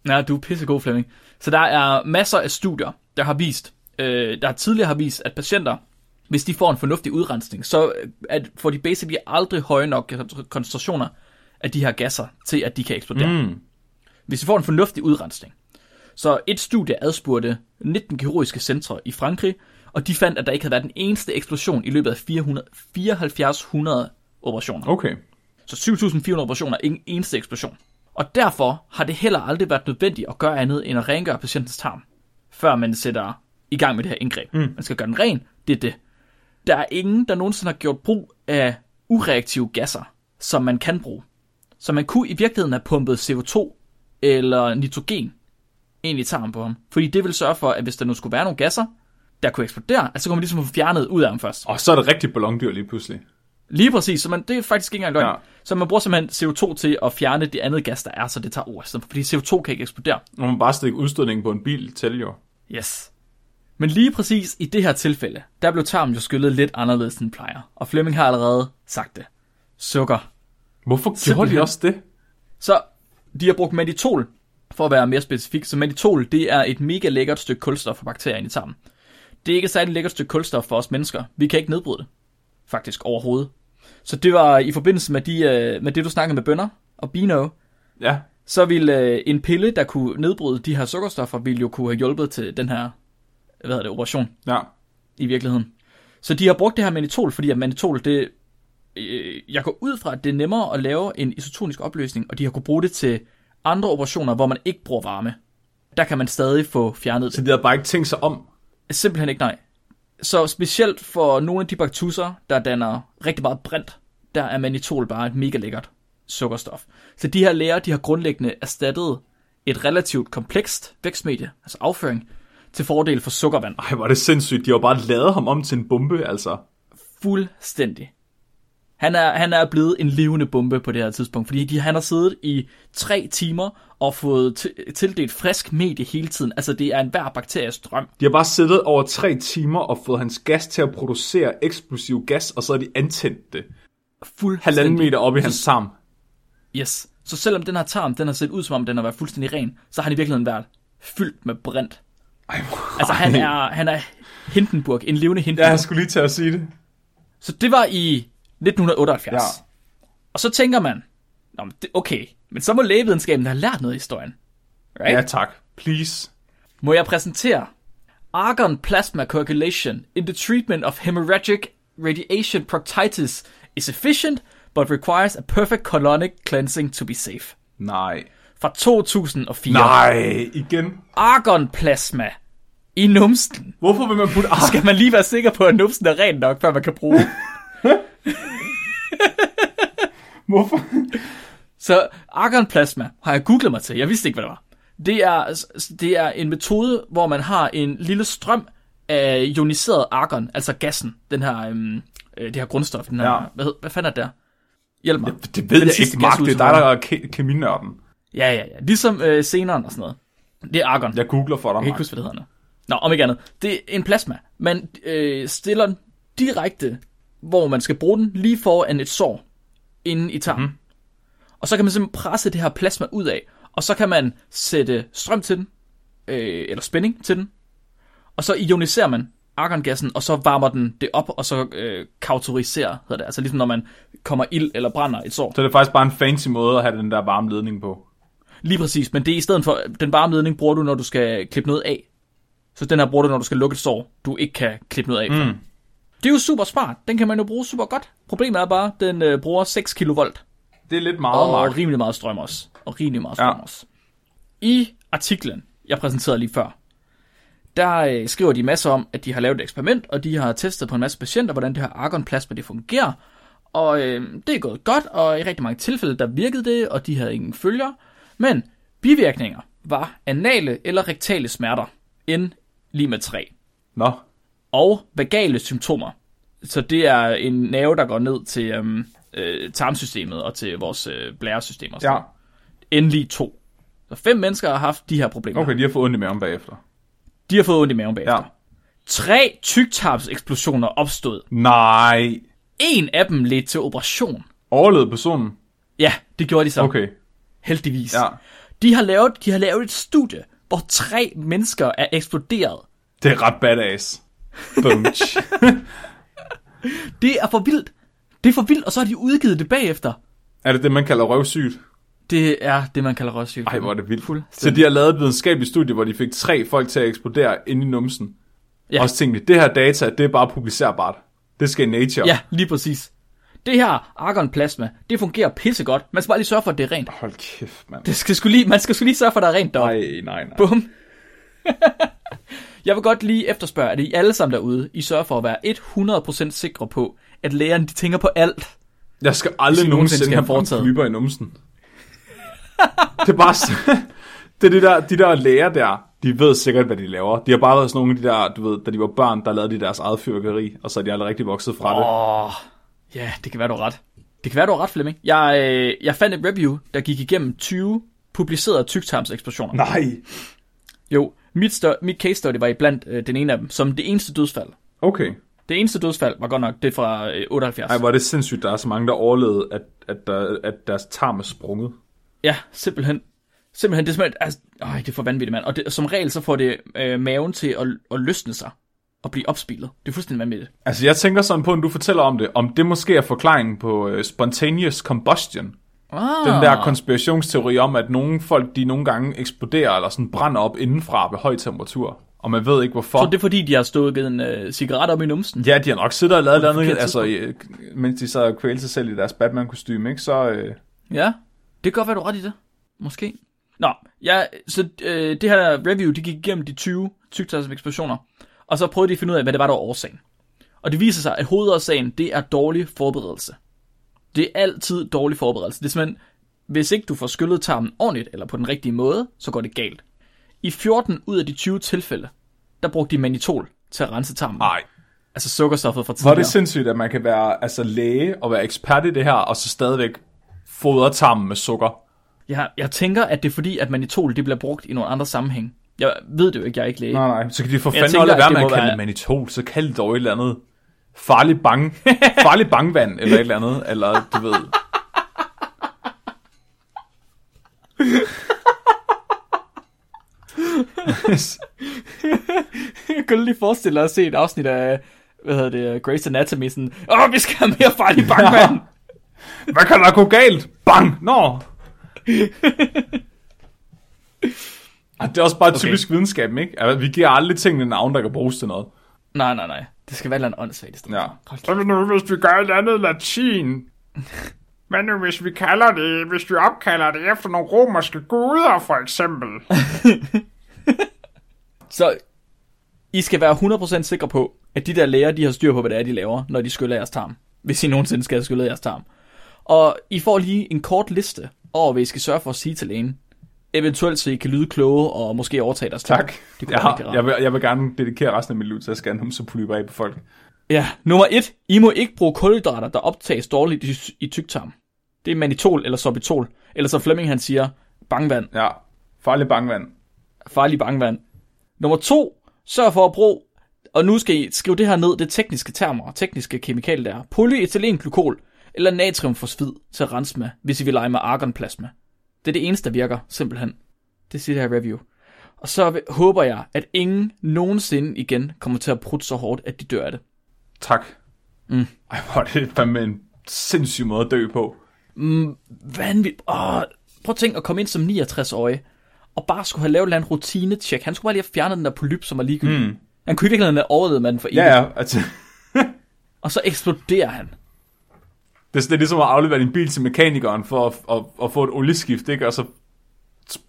Speaker 1: Ja, du er pissegod, Flemming. Så der er masser af studier, der har vist, øh, der tidligere har vist, at patienter, hvis de får en fornuftig udrensning, så øh, at, får de basically aldrig høje nok koncentrationer af de her gasser til, at de kan eksplodere.
Speaker 2: Mm.
Speaker 1: Hvis de får en fornuftig udrensning. Så et studie adspurgte 19 kirurgiske centre i Frankrig, og de fandt, at der ikke havde været den eneste eksplosion i løbet af 400, 7400 operationer.
Speaker 2: Okay.
Speaker 1: Så 7.400 operationer, ingen eneste eksplosion. Og derfor har det heller aldrig været nødvendigt at gøre andet end at rengøre patientens tarm, før man sætter i gang med det her indgreb. Mm. Man skal gøre den ren, det er det. Der er ingen, der nogensinde har gjort brug af ureaktive gasser, som man kan bruge. Så man kunne i virkeligheden have pumpet CO2 eller nitrogen ind i tarmen på ham. Fordi det vil sørge for, at hvis der nu skulle være nogle gasser, der kunne eksplodere, at så kunne man ligesom få fjernet ud af ham først.
Speaker 2: Og så er det rigtig ballondyr lige pludselig.
Speaker 1: Lige præcis, så man, det er faktisk ikke engang løgn.
Speaker 2: Ja.
Speaker 1: Ja. Så man bruger simpelthen CO2 til at fjerne det andet gas, der er, så det tager ord. Fordi CO2 kan ikke eksplodere.
Speaker 2: Når man bare stikker udstødningen på en bil, til jo.
Speaker 1: Yes. Men lige præcis i det her tilfælde, der blev tarmen jo skyllet lidt anderledes end den plejer. Og Flemming har allerede sagt det. Sukker.
Speaker 2: Hvorfor gjorde
Speaker 1: Simpelthen.
Speaker 2: de også det?
Speaker 1: Så de har brugt mannitol, for at være mere specifik. Så mannitol, det er et mega lækkert stykke kulstof for bakterier inde i tarmen. Det er ikke et særligt lækkert stykke kulstof for os mennesker. Vi kan ikke nedbryde det. Faktisk overhovedet. Så det var i forbindelse med, de, øh, med det, du snakkede med bønder og Bino,
Speaker 2: Ja.
Speaker 1: så ville øh, en pille, der kunne nedbryde de her sukkerstoffer, ville jo kunne have hjulpet til den her hvad hedder det, operation
Speaker 2: ja.
Speaker 1: i virkeligheden. Så de har brugt det her mannitol, fordi at mannitol, det øh, jeg går ud fra, at det er nemmere at lave en isotonisk opløsning, og de har kunne bruge det til andre operationer, hvor man ikke bruger varme. Der kan man stadig få fjernet
Speaker 2: Så de havde bare ikke tænkt sig om.
Speaker 1: Simpelthen ikke nej. Så specielt for nogle af de baktusser, der danner rigtig meget brint, der er mannitol bare et mega lækkert sukkerstof. Så de her læger, de har grundlæggende erstattet et relativt komplekst vækstmedie, altså afføring, til fordel for sukkervand.
Speaker 2: Ej, var det sindssygt. De har jo bare lavet ham om til en bombe, altså.
Speaker 1: Fuldstændig. Han er, han er blevet en levende bombe på det her tidspunkt, fordi de, han har siddet i tre timer og fået t- tildelt frisk medie hele tiden. Altså det er en hver bakteries drøm.
Speaker 2: De har bare siddet over tre timer og fået hans gas til at producere eksplosiv gas, og så har de antændt det.
Speaker 1: Fuldstændig.
Speaker 2: Halvanden meter op i hans tarm.
Speaker 1: Yes. Så selvom den her tarm, den har set ud som om den har været fuldstændig ren, så har den i virkeligheden været fyldt med brint.
Speaker 2: Ej, hvor-
Speaker 1: Altså han er, han er Hindenburg, en levende
Speaker 2: Ja,
Speaker 1: Hindenburg.
Speaker 2: jeg skulle lige til at sige det.
Speaker 1: Så det var i 1978.
Speaker 2: Ja.
Speaker 1: Og så tænker man, Nå, men det, okay, men så må lægevidenskaben have lært noget i historien.
Speaker 2: Ja, tak. Please.
Speaker 1: Må jeg præsentere Argon Plasma Coagulation in the treatment of hemorrhagic radiation proctitis is efficient, but requires a perfect colonic cleansing to be safe.
Speaker 2: Nej.
Speaker 1: Fra 2004.
Speaker 2: Nej, igen.
Speaker 1: argonplasma i numsten.
Speaker 2: Hvorfor vil man putte ark?
Speaker 1: Skal man lige være sikker på, at numsen er ren nok, før man kan bruge den?
Speaker 2: Hvorfor?
Speaker 1: Så argonplasma har jeg googlet mig til. Jeg vidste ikke, hvad det var. Det er, det er en metode, hvor man har en lille strøm af ioniseret argon, altså gassen, den her, øhm, øh, det her grundstof. Den her,
Speaker 2: Ja.
Speaker 1: ja. hvad, hed- hvad fanden er det der? Hjælp mig.
Speaker 2: Det ved
Speaker 1: Den
Speaker 2: jeg
Speaker 1: sidste
Speaker 2: ikke, Mark.
Speaker 1: gas ud
Speaker 2: Det er
Speaker 1: til
Speaker 2: dig, der
Speaker 1: mig.
Speaker 2: er ke- keminørden.
Speaker 1: Ja, ja, ja. Ligesom øh, seneren og sådan noget. Det er argon.
Speaker 2: Jeg googler for dig,
Speaker 1: Jeg kan ikke
Speaker 2: Mark.
Speaker 1: huske, hvad det hedder nu. Nå, om ikke andet. Det er en plasma. Man øh, stiller den direkte, hvor man skal bruge den, lige foran et sår inde i tarmen. Mm-hmm. Og så kan man simpelthen presse det her plasma ud af, og så kan man sætte strøm til den, øh, eller spænding til den, og så ioniserer man argongassen, og så varmer den det op, og så øh, kautoriserer, hedder det. Altså ligesom når man kommer ild eller brænder et sår.
Speaker 2: Så det er faktisk bare en fancy måde at have den der varme ledning på.
Speaker 1: Lige præcis, men det er i stedet for, den varme ledning bruger du, når du skal klippe noget af. Så den her bruger du, når du skal lukke et sår, du ikke kan klippe noget af. Mm. Det er jo super smart, den kan man jo bruge super godt. Problemet er bare, den øh, bruger 6 kV
Speaker 2: Det er lidt meget,
Speaker 1: og
Speaker 2: Mark.
Speaker 1: rimelig meget strøm også. Og rimelig meget
Speaker 2: Ja.
Speaker 1: strøm ja. også. I artiklen, jeg præsenterede lige før, der øh, skriver de masser om, at de har lavet et eksperiment, og de har testet på en masse patienter, hvordan det her argonplasma det fungerer. Og øh, det er gået godt, og i rigtig mange tilfælde, der virkede det, og de havde ingen følger. Men bivirkninger var anale eller rektale smerter, N lige med 3
Speaker 2: Nå,
Speaker 1: og vagale symptomer. Så det er en nerve, der går ned til øhm, øh, tarmsystemet og til vores øh, blæresystem. Og
Speaker 2: ja.
Speaker 1: sådan. Endelig to. Så fem mennesker har haft de her problemer.
Speaker 2: Okay, de har fået ondt i maven bagefter.
Speaker 1: De har fået ondt i maven bagefter.
Speaker 2: Ja.
Speaker 1: Ja. Tre tyktarmseksplosioner opstod.
Speaker 2: Nej.
Speaker 1: En af dem ledte til operation.
Speaker 2: Overlevede personen?
Speaker 1: Ja, det gjorde de så.
Speaker 2: Okay.
Speaker 1: Heldigvis.
Speaker 2: Ja.
Speaker 1: De, har lavet, de har lavet et studie, hvor tre mennesker er eksploderet.
Speaker 2: Det er ret badass.
Speaker 1: (laughs)
Speaker 2: Bunch.
Speaker 1: Det er for vildt. Det er for vildt, og så har de udgivet det bagefter.
Speaker 2: er det det, man kalder røvsygt?
Speaker 1: Det er det, man kalder røgsyge.
Speaker 2: Ej, hvor er det vildt. Så
Speaker 1: Fuldstændig.
Speaker 2: de har lavet et videnskabeligt studie, hvor de fik tre folk til at eksplodere inde i numsen. Ja.
Speaker 1: Ja.
Speaker 2: Og så tænkte de, det her data, det er bare publicerbart. Det skal i Nature.
Speaker 1: Ja, lige præcis. Det her argonplasma, det fungerer pissegodt. Man skal bare lige sørge for, at det er rent.
Speaker 2: Hold kæft, mand.
Speaker 1: Det skal sgu lige, man skal sgu lige sørge for, at der er rent deroppe.
Speaker 2: Nej, nej, nej.
Speaker 1: Bum. (laughs) Jeg vil godt lige efterspørge, at I alle sammen derude, I sørger for at være 100% sikre på, at lægerne de tænker på alt.
Speaker 2: Jeg skal
Speaker 1: Hvis
Speaker 2: aldrig
Speaker 1: I
Speaker 2: nogensinde
Speaker 1: nogensinde skal
Speaker 2: have
Speaker 1: have foretaget.
Speaker 2: brampolyper i numsen. (laughs) det er bare så- (laughs) det er det der, de der læger der, de ved sikkert, hvad de laver. De har bare været sådan nogle af de der, du ved, da de var børn, der lavede de deres eget fyrkeri, og så er de aldrig rigtig vokset fra det.
Speaker 1: Åh, ja, det kan være, du har ret. Det kan være, du har ret, Flemming. Jeg, øh, jeg fandt et review, der gik igennem 20 publicerede tyktarmseksplosioner.
Speaker 2: Nej.
Speaker 1: Jo, mit, stør- mit case study var i blandt øh, den ene af dem, som det eneste dødsfald.
Speaker 2: Okay.
Speaker 1: Det eneste dødsfald var godt nok det fra øh, 78.
Speaker 2: Ej, hvor er det sindssygt, der er så mange, der overlevede, at, at, der, at deres tarm er sprunget.
Speaker 1: Ja, simpelthen. Simpelthen, det er simpelthen, altså, øj, det er for vanvittigt, mand. Og det, som regel, så får det øh, maven til at, at løsne sig og blive opspilet. Det er fuldstændig vanvittigt.
Speaker 2: Altså, jeg tænker sådan på, når du fortæller om det, om det måske er forklaringen på uh, spontaneous combustion.
Speaker 1: Ah,
Speaker 2: Den der konspirationsteori om, at nogle folk, de nogle gange eksploderer eller sådan brænder op indenfra ved høj temperatur. og man ved ikke hvorfor.
Speaker 1: Tror du, det er fordi, de har stået og givet en øh, cigaret op i numsen?
Speaker 2: Ja, de har nok siddet og lavet noget andet,
Speaker 1: forkert
Speaker 2: altså, øh, mens de sad og kvælte sig selv i deres Batman-kostyme, ikke? Så, øh,
Speaker 1: Ja, det kan godt være, du har ret i det. Måske. Nå, ja, så øh, det her review, de gik igennem de 20 tyktarmseksplosioner, og så prøvede de at finde ud af, hvad det var, der var årsagen. Og det viser sig, at hovedårsagen, det er dårlig forberedelse. Det er altid dårlig forberedelse. Det er simpelthen, hvis ikke du får skyllet tarmen ordentligt, eller på den rigtige måde, så går det galt. I 14 ud af de 20 tilfælde, der brugte de manitol til at rense tarmen.
Speaker 2: nej.
Speaker 1: Altså sukkerstoffet fra
Speaker 2: Ah. Hvor er
Speaker 1: tidligere.
Speaker 2: det sindssygt, at man kan være altså, læge og være ekspert i det her, og så stadigvæk fodre tarmen med sukker.
Speaker 1: Jeg, jeg tænker, at det er fordi, at manitol det bliver brugt i nogle andre sammenhæng. Jeg ved det jo ikke, jeg er ikke læge.
Speaker 2: Nej, nej. Så kan de for
Speaker 1: Jeg
Speaker 2: fanden
Speaker 1: tænker,
Speaker 2: holde
Speaker 1: at
Speaker 2: være
Speaker 1: det
Speaker 2: med
Speaker 1: må
Speaker 2: at kalde
Speaker 1: være-
Speaker 2: det manitol, så kald det dog et eller andet farlig, bang,
Speaker 1: (laughs)
Speaker 2: farlig bangvand, eller et eller andet, eller du ved.
Speaker 1: Jeg (laughs) kunne lige forestille dig at se et afsnit af, hvad hedder det, Grey's Anatomy, sådan, åh, vi skal have mere farlig bankmand.
Speaker 2: Hvad kan der gå galt? Bang!
Speaker 1: (laughs)
Speaker 2: Nå! Ej, Ah, Det er også bare okay. typisk videnskaben, ikke? Altså, vi giver aldrig tingene navn, der kan bruges til noget.
Speaker 1: nej, nej, nej. Det skal være et eller andet åndssvagt i stedet.
Speaker 2: Ja.
Speaker 1: Hold
Speaker 2: Hvad nu, hvis vi gør et andet latin? Hvad nu, hvis vi kalder det, hvis vi opkalder det efter nogle romerske guder, for eksempel?
Speaker 1: Så I skal være 100% sikre på, at de der læger, de har styr på, hvad det er, de laver, når de skyller jeres tarm. Hvis I nogensinde skal have skyllet jeres tarm. Og I får lige en kort liste over, hvad I skal sørge for at sige til lægen. Eventuelt, så I kan lyde kloge og måske overtage deres tarm.
Speaker 2: Tak.
Speaker 1: Det kunne
Speaker 2: jeg,
Speaker 1: være rigtig rart.
Speaker 2: jeg, vil, jeg vil gerne dedikere resten af mit liv til at scanne dem, så polyper af på folk.
Speaker 1: Ja, nummer et. I må ikke bruge kulhydrater, der optages dårligt i, i tyktarm. Det er manitol eller sorbitol. Eller så Flemming han siger, bangvand.
Speaker 2: Ja. Farlig bangvand.
Speaker 1: Farlig bangvand. Nummer to. Sørg for at bruge, og nu skal I skrive det her ned, det er tekniske termer og tekniske kemikalier der er. Polyethylenglykol eller natriumfosfid til at rense med, hvis I vil lege med argonplasma. Det er det eneste, der virker, simpelthen. Det siger det her review. Og så vil- håber jeg, at ingen nogensinde igen kommer til at prutte så hårdt, at de dør af det.
Speaker 2: Tak. Mm. Ej, hvor er det fandme en sindssyg måde at dø på.
Speaker 1: vanvittigt. Åh, prøv at tænke at komme ind som 69-årig, og bare skulle have lavet en eller anden rutinetjek. Han skulle bare lige have fjernet den der polyp, som var ligegyldig. Mm. Han kunne i virkeligheden have overlevet manden for evigt.
Speaker 2: Ja, ja. Altså,
Speaker 1: Og så eksploderer han.
Speaker 2: det, er, det er ligesom at aflevere din bil til mekanikeren for at, at, at få et olieskift, ikke? Og så,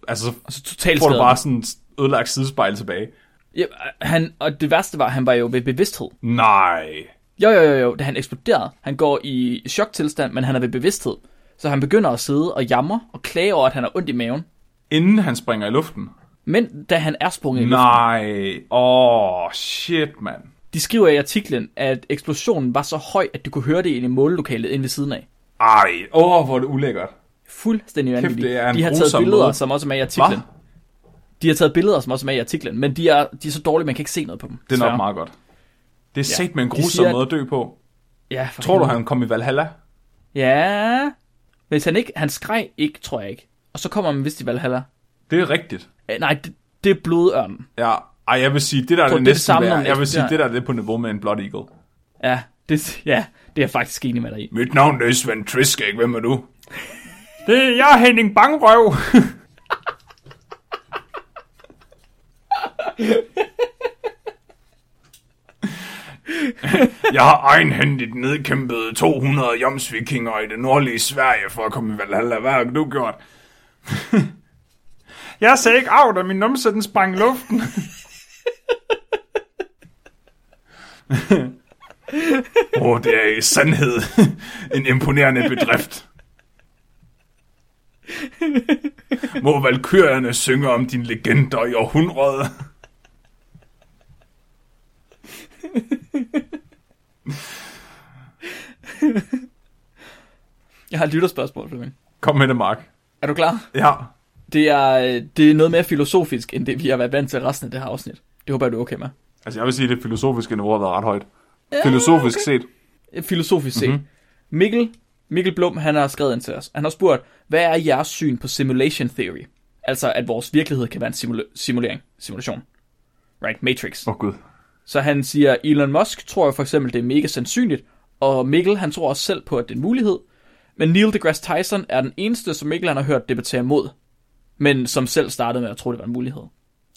Speaker 2: altså,
Speaker 1: Og
Speaker 2: så
Speaker 1: så totalt
Speaker 2: får du
Speaker 1: skadet.
Speaker 2: bare sådan et ødelagt sidespejl tilbage.
Speaker 1: Ja, han, og det værste var, at han var jo ved bevidsthed.
Speaker 2: Nej.
Speaker 1: Jo, jo, jo, jo, da han eksploderede. Han går i choktilstand, men han er ved bevidsthed. Så han begynder at sidde og jammer og klage over, at han har ondt i maven.
Speaker 2: Inden han springer i luften.
Speaker 1: Men da han er sprunget i luften,
Speaker 2: Nej. Åh, oh, shit, mand.
Speaker 1: de skriver i artiklen, at eksplosionen var så høj, at du kunne høre det inde i målelokalet inde ved siden af.
Speaker 2: Ej, åh, oh, hvor er det ulækkert.
Speaker 1: Fuldstændig vanvittigt.
Speaker 2: det er en
Speaker 1: De har taget
Speaker 2: grusom
Speaker 1: billeder,
Speaker 2: måde.
Speaker 1: som også er med i artiklen.
Speaker 2: Hva?
Speaker 1: De har taget billeder, som også er med i artiklen, men de er, de er så dårlige, man kan ikke se noget på dem.
Speaker 2: Det er
Speaker 1: desværre.
Speaker 2: nok meget godt. Det er ja. sat med en
Speaker 1: de
Speaker 2: grusom
Speaker 1: siger, Mhm. at-
Speaker 2: måde at dø på.
Speaker 1: Ja, for
Speaker 2: Tror du,
Speaker 1: helvede.
Speaker 2: han kom i Valhalla?
Speaker 1: Ja. Hvis han ikke... Han skreg ikke, tror jeg ikke. Og så kommer man vist i Valhalla.
Speaker 2: Det er rigtigt.
Speaker 1: Øh, nej, det, det er blodørnen.
Speaker 2: Ja. Ej, jeg vil sige, det der
Speaker 1: Tror
Speaker 2: er det
Speaker 1: du, det er det
Speaker 2: næsten
Speaker 1: samme, når
Speaker 2: værre.
Speaker 1: man
Speaker 2: Jeg vil sige,
Speaker 1: eksploderer?
Speaker 2: det der er det på niveau med en Blood Eagle.
Speaker 1: Ja, det, ja, det er jeg faktisk enig med dig i.
Speaker 2: Mit navn er Svend Triskæg, hvem er du? Det er jeg, Henning Bangrøv. jeg har egenhændigt nedkæmpet 200 jomsvikinger i det nordlige Sverige for at komme i Valhalla. Hvad har du gjort? jeg sagde ikke af, da min numse den sprang i luften. Åh, oh, det er i sandhed (laughs) en imponerende bedrift. Må valkyrierne synge om dine legender i århundrede.
Speaker 1: Jeg har et lytterspørgsmål, Flemming.
Speaker 2: Kom med det, Mark.
Speaker 1: Er du klar?
Speaker 2: Ja.
Speaker 1: Det er, øh, det er noget mere filosofisk, end det vi har været vant til resten af det her afsnit. Det håber jeg, du er okay med.
Speaker 2: Altså, jeg vil sige, at det filosofiske niveau har været ret højt. Filosofisk set.
Speaker 1: Øh, Filosofisk set. Mm-hmm. Mikkel, Mikkel Blum, han har skrevet ind til os. Han har spurgt, hvad er jeres syn på simulation theory? Altså, at vores virkelighed kan være en simula- simulering. Simulation. Right, Matrix.
Speaker 2: Åh, oh, Gud.
Speaker 1: Så han siger, Elon Musk tror jo for eksempel, det er mega sandsynligt, og Mikkel, han tror også selv på, at det er en mulighed. Men Neil deGrasse Tyson er den eneste, som Mikkel han har hørt debattere imod, men som selv startede med at tro, det var en mulighed.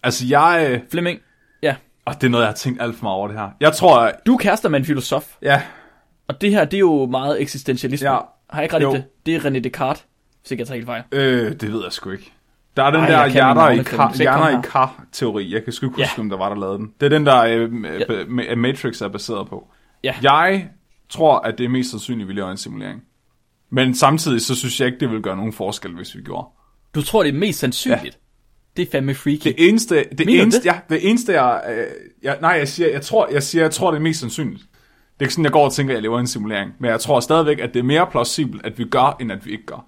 Speaker 2: Altså, jeg... øh,
Speaker 1: Flemming, ja,
Speaker 2: Og det er noget, jeg har tænkt alt for meget over det her. Jeg tror, at-
Speaker 1: Du er kærester med en filosof,
Speaker 2: ja,
Speaker 1: og det her, det er jo meget eksistentialisme.
Speaker 2: Ja.
Speaker 1: Har jeg ikke ret
Speaker 2: Jo.
Speaker 1: i det? Det er René Descartes, hvis ikke jeg tager helt fejl.
Speaker 2: øh, det ved jeg sgu ikke. Der er den
Speaker 1: Ej,
Speaker 2: der
Speaker 1: jeg kan
Speaker 2: hjerner
Speaker 1: navne på
Speaker 2: i, kar,
Speaker 1: dem, så ikke kom
Speaker 2: hjerner
Speaker 1: her.
Speaker 2: i kar-teori. Jeg kan sgu ikke huske,
Speaker 1: Ja.
Speaker 2: om der var, der lavede den. Det er den, der øh,
Speaker 1: Ja.
Speaker 2: ja. Matrix er baseret på.
Speaker 1: Ja.
Speaker 2: Jeg tror, at det er mest sandsynligt, at vi laver en simulering. Men samtidig, så synes jeg ikke, det vil gøre nogen forskel, hvis vi gjorde.
Speaker 1: Du tror, det er mest sandsynligt. Det er fandme freaky.
Speaker 2: Det eneste, det
Speaker 1: Mener du
Speaker 2: eneste,
Speaker 1: det?
Speaker 2: ja, det eneste jeg, øh, jeg, nej, jeg siger, jeg tror, jeg siger, jeg tror, det er mest sandsynligt. Det er ikke sådan, jeg går og tænker, at jeg lever i en simulering. Men jeg tror stadigvæk, at det er mere plausibelt, at vi gør, end at vi ikke gør.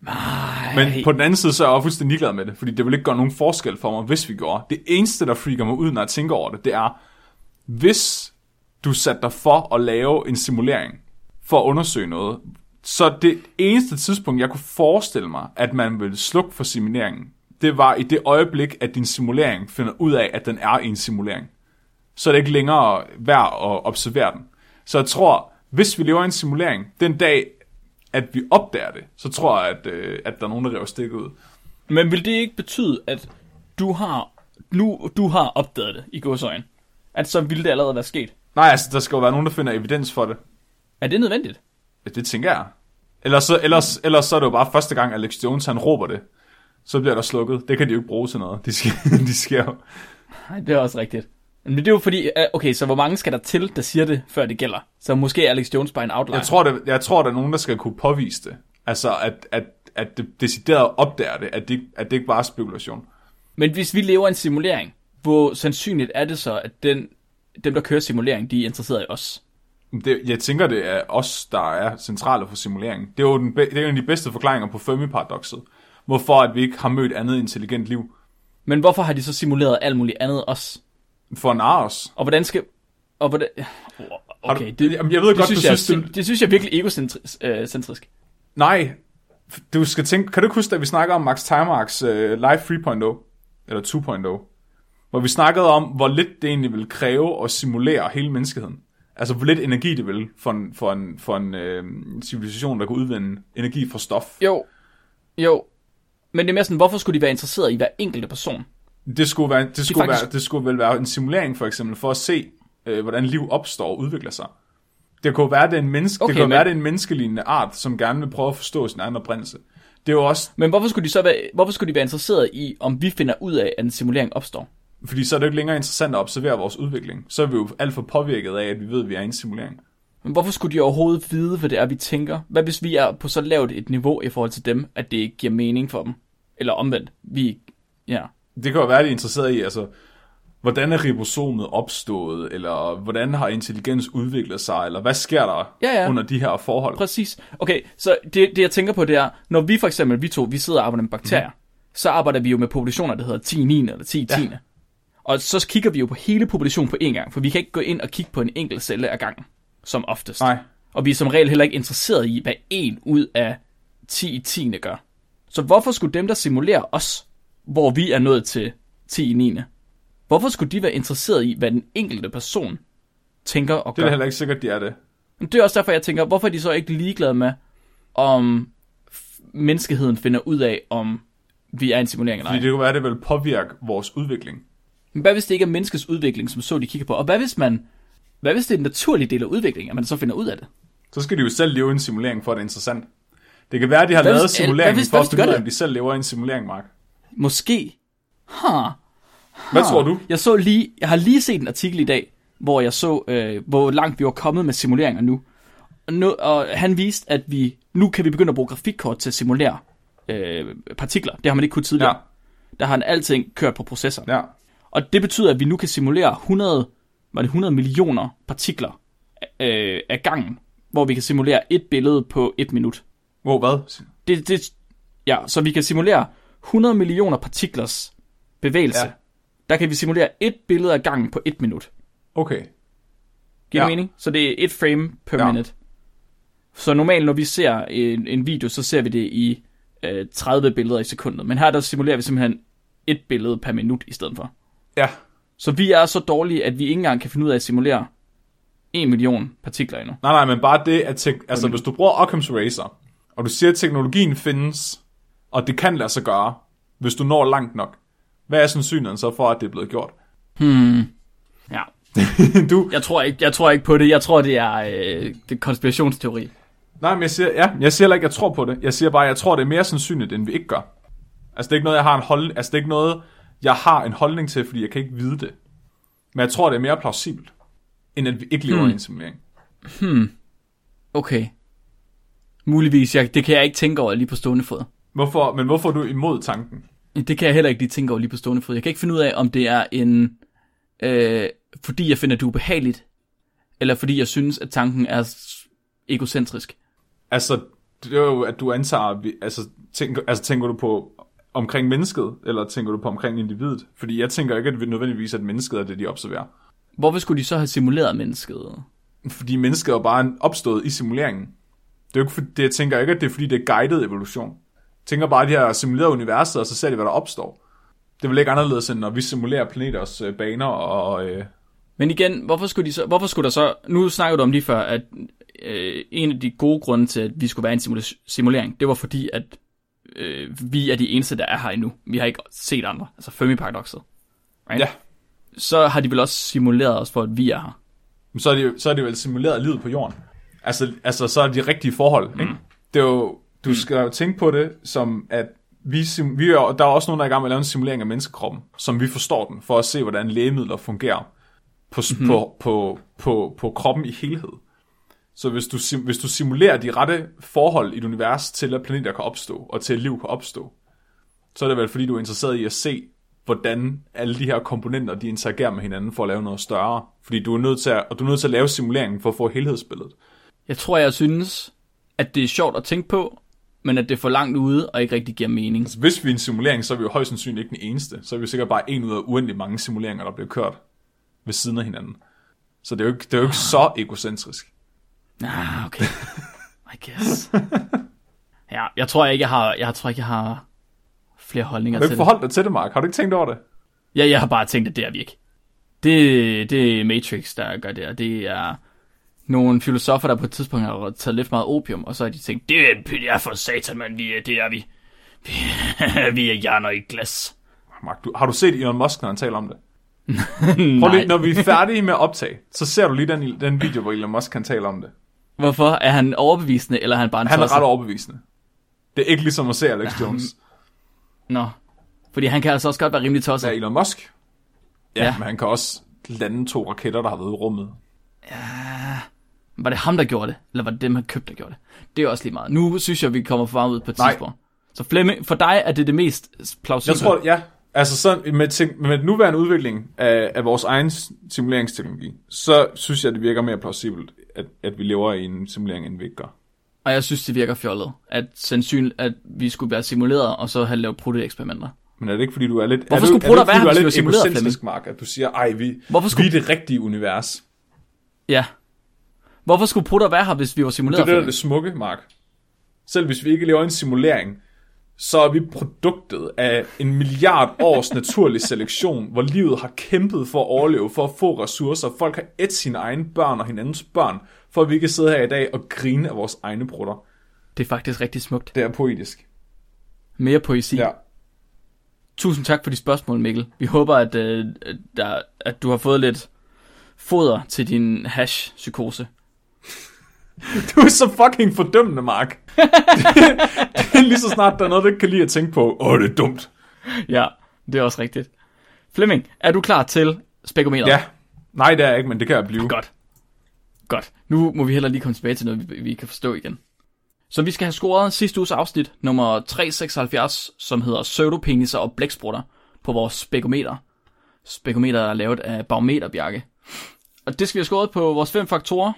Speaker 2: Nej. Men på den anden side, så er jeg også fuldstændig ligeglad med det, fordi det vil ikke gøre nogen forskel for mig, hvis vi gjorde. Det eneste, der freaker mig ud, når jeg tænker over det, det er, hvis du satte dig for at lave en simulering for at undersøge noget, så det eneste tidspunkt, jeg kunne forestille mig, at man ville slukke for simuleringen, det var i det øjeblik, at din simulering finder ud af, at den er i en simulering. Så er det ikke længere værd at observere den. Så jeg tror, hvis vi lever i en simulering, den dag, at vi opdager det, så tror jeg, at, øh, at der er nogen, der river stikket ud.
Speaker 1: Men vil det ikke betyde, at du har, nu du har opdaget det i godsøjen? At så ville det allerede være sket?
Speaker 2: Nej, altså, der skal jo være nogen, der finder evidens for det.
Speaker 1: Er det nødvendigt?
Speaker 2: Ja, det tænker jeg. Ellers så, ellers, ellers så er det jo bare første gang, Alex Jones han råber det. Så bliver der slukket. Det kan de jo ikke bruge til noget. De skal, (laughs) de skal jo.
Speaker 1: Nej, det er også rigtigt. Men det er jo fordi, øh, okay, så hvor mange skal der til, der siger det, før det gælder? Så måske er Alex Jones bare en outlier.
Speaker 2: Jeg tror, det, jeg tror, der er nogen, der skal kunne påvise det. Altså, at, at, at det decideret opdager det, at det, ikke- at det ikke bare er spekulation.
Speaker 1: Men hvis vi lever i en simulering, hvor sandsynligt er det så, at den, dem, der kører simulering, de er interesseret i os?
Speaker 2: Det, jeg tænker, det er os, der er centrale for simuleringen. Det er jo den, be- det er en af de bedste forklaringer på Fermi-paradoxet. Hvorfor at vi ikke har mødt andet intelligent liv
Speaker 1: Men hvorfor har de så simuleret alt muligt andet os?
Speaker 2: for at narre os.
Speaker 1: Og hvordan skal... Og hvordan...
Speaker 2: Har du-
Speaker 1: Okay, det,
Speaker 2: Jamen, jeg ved
Speaker 1: det,
Speaker 2: godt,
Speaker 1: synes
Speaker 2: du
Speaker 1: jeg,
Speaker 2: synes,
Speaker 1: det, det synes jeg er virkelig egocentrisk. øh,
Speaker 2: Nej, du skal tænke, kan du ikke huske, at vi snakkede om Max Timarks øh, Live 3.0, eller 2.0, hvor vi snakkede om, hvor lidt det egentlig ville kræve at simulere hele menneskeheden. Altså, hvor lidt energi det ville for en, for en, for en øh, civilisation, der kunne udvinde energi fra stof.
Speaker 1: Jo, jo. Men det er mere sådan, hvorfor skulle de være interesseret i hver enkelte person?
Speaker 2: Det skulle, være, det, skulle
Speaker 1: faktisk-
Speaker 2: være, det skulle vel være en simulering, for eksempel, for at se, øh, hvordan liv opstår og udvikler sig. Det kunne være, det er en, menneske, okay,
Speaker 1: Okay,
Speaker 2: det kunne
Speaker 1: men-
Speaker 2: være, det er en menneskelignende art, som gerne vil prøve at forstå sin egen oprindelse. Det er jo også
Speaker 1: Men hvorfor skulle de så være, hvorfor skulle de være interesseret i, om vi finder ud af, at en simulering opstår?
Speaker 2: Fordi så er det jo ikke længere interessant at observere vores udvikling. Så er vi jo alt for påvirket af, at vi ved, at vi er i en simulering.
Speaker 1: Men hvorfor skulle de overhovedet vide, hvad det er, vi tænker? Hvad hvis vi er på så lavt et niveau i forhold til dem, at det ikke giver mening for dem? Eller omvendt, vi... Ja.
Speaker 2: Det kan jo være, at de er interesseret i, altså, hvordan er ribosomet opstået, eller hvordan har intelligens udviklet sig, eller hvad sker der
Speaker 1: Ja, ja.
Speaker 2: under de her forhold?
Speaker 1: Præcis. Okay, så det, det jeg tænker på, det er, når vi for eksempel, vi to, vi sidder og arbejder med bakterier,
Speaker 2: Mhm.
Speaker 1: så arbejder vi jo med populationer, der hedder 10-9 eller 10-10. Ja. Og så kigger vi jo på hele populationen på én gang, for vi kan ikke gå ind og kigge på en enkelt celle ad gangen, som oftest.
Speaker 2: Nej,
Speaker 1: Og vi er som regel heller ikke interesseret i, hvad en ud af 10 i 10. gør. Så hvorfor skulle dem, der simulerer os, hvor vi er nået til 10 i 9. Hvorfor skulle de være interesseret i, hvad den enkelte person tænker og
Speaker 2: det
Speaker 1: gør?
Speaker 2: er da heller ikke sikkert, de er det.
Speaker 1: Men Det er også derfor, jeg tænker, hvorfor er de så ikke ligeglade med, om f- menneskeheden finder ud af, om vi er en simulering eller
Speaker 2: Fordi
Speaker 1: ej.
Speaker 2: det kan være, at det vil påvirke vores udvikling.
Speaker 1: Men hvad hvis det ikke er menneskets udvikling, som så de kigger på? Og hvad hvis man... Hvad hvis det er en naturlig del af udviklingen, at man så finder ud af det?
Speaker 2: Så skal de jo selv leve i en simulering, for at det er interessant. Det kan være, at de har
Speaker 1: Hvad hvis-
Speaker 2: lavet
Speaker 1: hvad
Speaker 2: simuleringen
Speaker 1: hvis-
Speaker 2: for
Speaker 1: hvad
Speaker 2: at
Speaker 1: hvis de
Speaker 2: finde ud
Speaker 1: gør
Speaker 2: af,
Speaker 1: det?
Speaker 2: om de selv lever i en simulering, Mark.
Speaker 1: Måske. Huh.
Speaker 2: Hvad tror du?
Speaker 1: Jeg, så lige, jeg har lige set en artikel i dag, hvor jeg så, øh, hvor langt vi var kommet med simuleringer nu. Og, nu, og han viste, at vi nu kan vi begynde at bruge grafikkort til at simulere øh, partikler. Det har man ikke kunnet tidligere.
Speaker 2: Ja,
Speaker 1: Ja. Der har han alting kørt på processoren. Ja.
Speaker 2: ja.
Speaker 1: Og det betyder, at vi nu kan simulere 100, var det 100 millioner partikler øh, af gangen, hvor vi kan simulere et billede på et minut.
Speaker 2: Wow, hvad?
Speaker 1: Det, det, ja, så vi kan simulere 100 millioner partiklers bevægelse.
Speaker 2: Ja.
Speaker 1: Ja. Der kan vi simulere et billede af gangen på et minut.
Speaker 2: Okay.
Speaker 1: Giver det
Speaker 2: Ja.
Speaker 1: mening? Så det er et frame per
Speaker 2: Ja.
Speaker 1: ja. minute. Så normalt, når vi ser en, en video, så ser vi det i øh, 30 billeder i sekundet. Men her der simulerer vi simpelthen et billede per minut i stedet for.
Speaker 2: Ja,
Speaker 1: Så vi er så dårlige, at vi ikke engang kan finde ud af at simulere 1 million partikler endnu.
Speaker 2: Nej, nej, men bare det, at tek- altså, hvis du bruger Occam's Razor, og du siger, at teknologien findes, og det kan lade sig gøre, hvis du når langt nok, hvad er sandsynligheden så for, at det er blevet gjort? (laughs) du,
Speaker 1: Jeg tror ikke, jeg tror ikke på det. Jeg tror, det er, øh, det er konspirationsteori.
Speaker 2: nej, men jeg siger, ja, jeg siger heller ikke, jeg tror på det. Jeg siger bare, jeg tror, det er mere sandsynligt, end vi ikke gør. Altså, det er ikke noget, jeg har en holdning, altså, det er ikke noget, jeg har en holdning til, fordi jeg kan ikke vide det. Men jeg tror, det er mere plausibelt, end at vi ikke lever hmm. i en simulering.
Speaker 1: Okay. Muligvis. Jeg, det kan jeg ikke tænke over lige på stående fod.
Speaker 2: Hvorfor, men hvorfor er du imod tanken?
Speaker 1: Det kan jeg heller ikke lige tænke over lige på stående fod. Jeg kan ikke finde ud af, om det er en... Øh, fordi jeg finder det ubehageligt, eller fordi jeg synes, at tanken er s- egocentrisk.
Speaker 2: Altså, det er jo, at du antager, at vi- altså, tænker, altså tænker du på omkring mennesket, eller tænker du på omkring individet? Fordi jeg tænker ikke, at vi nødvendigvis, at mennesket er det, de observerer.
Speaker 1: Hvorfor skulle de så have simuleret mennesket?
Speaker 2: Fordi mennesket er jo bare en- opstået i simuleringen. Det er jo ikke, for, det, jeg tænker ikke, at det er fordi, det er guidet evolution. Jeg tænker bare, at de har simuleret universet, og så ser de, hvad der opstår. Det er vel ikke anderledes, end når vi simulerer planeters øh, baner og... Øh,
Speaker 1: Men igen, hvorfor skulle, de så, hvorfor skulle der så... Nu snakkede du om lige før, at øh, en af de gode grunde til, at vi skulle være i en simula- simulering, det var fordi, at øh, vi er de eneste, der er her endnu. Vi har ikke set andre. Altså Fermi-paradoxet. Right?
Speaker 2: Ja.
Speaker 1: Så har de vel også simuleret os for, at vi er her.
Speaker 2: Men så er det, jo- så er det vel simuleret livet på jorden. Altså, altså så er det de rigtige forhold, ikke? Det er jo, du skal jo tænke på det som, at vi, sim, vi er, jo- der er også nogen, der er i gang med at lave en simulering af menneskekroppen, som vi forstår den, for at se, hvordan lægemidler fungerer på, mm-hmm. på, på, på, på kroppen i helhed. Så hvis du, sim, hvis du simulerer de rette forhold i et univers til, at planeter kan opstå, og til, at liv kan opstå, så er det vel, fordi du er interesseret i at se, hvordan alle de her komponenter, de interagerer med hinanden for at lave noget større. Fordi du er nødt til at, og du er nødt til at lave simuleringen for at få helhedsbilledet.
Speaker 1: Jeg tror, jeg synes, at det er sjovt at tænke på, men at det er for langt ude og ikke rigtig giver mening.
Speaker 2: Så Altså, hvis vi er en simulering, så er vi jo højst sandsynligt ikke den eneste. Så er vi sikkert bare en ud af uendelig mange simuleringer, der bliver kørt ved siden af hinanden. Så det er jo ikke, det er jo ikke så egocentrisk.
Speaker 1: Ah, okay. I guess. Ja, jeg tror ikke, jeg har, jeg tror ikke, jeg har flere holdninger
Speaker 2: Har du
Speaker 1: til
Speaker 2: ikke
Speaker 1: det.
Speaker 2: forholdt dig til det, Mark? Har du ikke tænkt over det?
Speaker 1: Ja, jeg har bare tænkt, at det er vi ikke. Det, det er Matrix, der gør det, og det er nogle filosofer, der på et tidspunkt har taget lidt meget opium, og så har de tænkt, det er, det er for satan, man, vi, er- det er vi. (laughs) Vi, vi er hjerner i glas.
Speaker 2: Mark, du, har du set Elon Musk, når han taler om det? Prøv
Speaker 1: Nej,
Speaker 2: lige, når vi er færdige med at optage, så ser du lige den, den video, hvor Elon Musk kan tale om det.
Speaker 1: hvorfor? Er han overbevisende, eller er han bare en
Speaker 2: Han er
Speaker 1: tosset?
Speaker 2: ret overbevisende. Det er ikke ligesom at se Alex Jones.
Speaker 1: Nå. Fordi han kan altså også godt være rimelig tosset.
Speaker 2: Ja, Elon Musk. Ja,
Speaker 1: Ja.
Speaker 2: ja, men han kan også lande to raketter, der har været i rummet.
Speaker 1: Var det ham, der gjorde det? Eller var det dem, han købte, der gjorde det? Det er også lige meget. Nu synes jeg, vi kommer for meget ud på et
Speaker 2: Nej.
Speaker 1: tidspunkt. Så Flemming, for dig er det det mest plausible.
Speaker 2: Jeg tror, ja. Altså sådan, med, ting, med den nuværende udvikling af, af vores egen simuleringsteknologi, så synes jeg, det virker mere plausibelt, at, at vi lever i en simulering, end vi ikke gør.
Speaker 1: Og jeg synes, det virker fjollet, at sandsynligt, at vi skulle være simuleret, og så have lavet proteeksperimenter.
Speaker 2: Men er det ikke, fordi du er lidt...
Speaker 1: Hvorfor
Speaker 2: er
Speaker 1: skulle
Speaker 2: du, er
Speaker 1: Brutter
Speaker 2: det ikke,
Speaker 1: være her,
Speaker 2: fordi
Speaker 1: hvis
Speaker 2: du
Speaker 1: vi var
Speaker 2: er lidt
Speaker 1: simuleret,
Speaker 2: egocentrisk, Mark, at du siger, ej, vi,
Speaker 1: Hvorfor skulle-
Speaker 2: vi er det rigtige univers.
Speaker 1: Ja. Hvorfor skulle Prutter være her, hvis vi var
Speaker 2: Det er
Speaker 1: simuleret?
Speaker 2: det, der er
Speaker 1: Flemming?
Speaker 2: det smukke, Mark. Selv hvis vi ikke lever i en simulering, så er vi produktet af en milliard års naturlig selektion, hvor livet har kæmpet for at overleve, for at få ressourcer. Folk har et sine egne børn og hinandens børn, for at vi kan sidde her i dag og grine af vores egne brutter.
Speaker 1: det er faktisk rigtig smukt.
Speaker 2: Det er poetisk.
Speaker 1: Mere poesi.
Speaker 2: Ja.
Speaker 1: Tusind tak for de spørgsmål, Mikkel. Vi håber, at, øh, der, at du har fået lidt foder til din hash-psykose.
Speaker 2: Du er så fucking fordømmende, Mark. det, det er lige så snart, der er noget, du ikke kan lide at tænke på. Åh, det er dumt.
Speaker 1: Ja, det er også rigtigt. Flemming, er du klar til spekometeret?
Speaker 2: Ja. Nej, det er jeg ikke, men det kan jeg blive.
Speaker 1: Godt. Godt. Nu må vi heller lige komme tilbage til noget, vi, vi kan forstå igen. Så vi skal have scoret sidste uges afsnit, nummer 376, som hedder Pseudopeniser og blæksprutter, på vores spekometer. Spekometer er lavet af barometerbjerke. Og det skal vi have scoret på vores fem faktorer.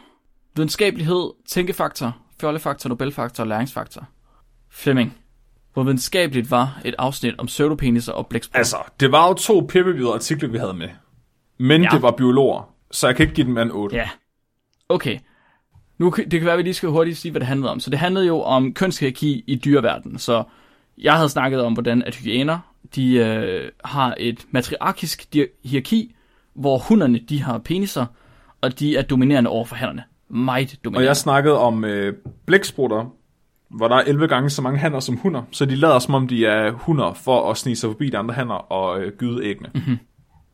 Speaker 1: Videnskabelighed, tænkefaktor, fjollefaktor, nobelfaktor og læringsfaktor. Flemming, hvor videnskabeligt var et afsnit om pseudopeniser og blæksprutter?
Speaker 2: Altså, det var jo to peer artikler, vi havde med. Men
Speaker 1: Ja.
Speaker 2: ja. det var biologer, så jeg kan ikke give dem en 8.
Speaker 1: Ja. Okay. Nu, kan- det kan være, at vi lige skal hurtigt sige, hvad det handlede om. Så det handlede jo om kønshierarki i dyreverdenen. Så jeg havde snakket om, hvordan at hyæner, de øh, har et matriarkisk di- hierarki, hvor hunderne, de har peniser, og de er dominerende over for hannerne. Meget
Speaker 2: Og
Speaker 1: dominerende.
Speaker 2: jeg snakkede om øh, blæksprutter, hvor der er 11 gange så mange hanner som
Speaker 1: Mhm.
Speaker 2: hunder, så de lader som om de er hunder for at snige sig forbi de andre hanner og øh, gyde æggene. Mm-hmm.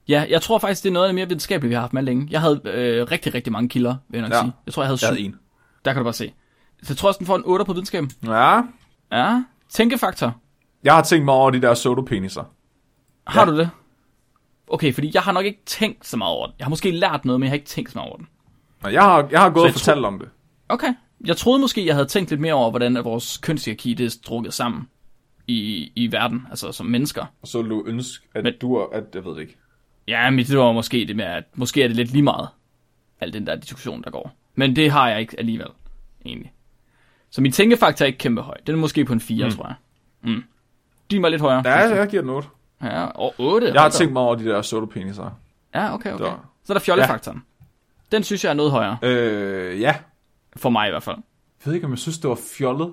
Speaker 1: Ja, jeg tror faktisk, det er noget af det mere videnskabelige, vi har haft med længe. Jeg havde øh, rigtig, rigtig mange kilder, vil jeg nok
Speaker 2: Ja.
Speaker 1: ja. sige. Jeg tror, jeg havde syv.
Speaker 2: Jeg havde en.
Speaker 1: Der kan du bare se. Så jeg tror også, den får en 8 på videnskaben.
Speaker 2: Ja.
Speaker 1: Ja, tænkefaktor.
Speaker 2: Jeg har tænkt mig over de der sodopeniser.
Speaker 1: Har
Speaker 2: Ja.
Speaker 1: du det? Okay, fordi jeg har nok ikke tænkt så meget over den. Jeg har måske lært noget, men jeg har ikke tænkt så meget over den.
Speaker 2: Og jeg har, jeg har gået
Speaker 1: Så
Speaker 2: og
Speaker 1: jeg
Speaker 2: fortalt om det.
Speaker 1: Okay. Jeg troede måske, jeg havde tænkt lidt mere over, hvordan at vores kønshierarki det er strukket sammen i, i verden, altså som mennesker.
Speaker 2: Og så ville du ønske, at
Speaker 1: Men-
Speaker 2: du og... At, jeg ved det ikke.
Speaker 1: Ja, mit det var måske det med, at måske er det lidt lige meget, al den der diskussion, der går. Men det har jeg ikke alligevel, egentlig. Så min tænkefaktor er ikke kæmpe høj. Den er måske på en 4, mm. tror jeg. Mm. De var lidt højere.
Speaker 2: Ja, jeg giver den 8.
Speaker 1: ja og 8.
Speaker 2: Jeg har tænkt mig over de der sodopeniser.
Speaker 1: Ja, okay, okay.
Speaker 2: Der.
Speaker 1: Så er der fjollefaktoren. Den synes jeg er noget højere,
Speaker 2: Øh, ja.
Speaker 1: for mig i hvert fald.
Speaker 2: Jeg ved ikke, om jeg synes, det var fjollet.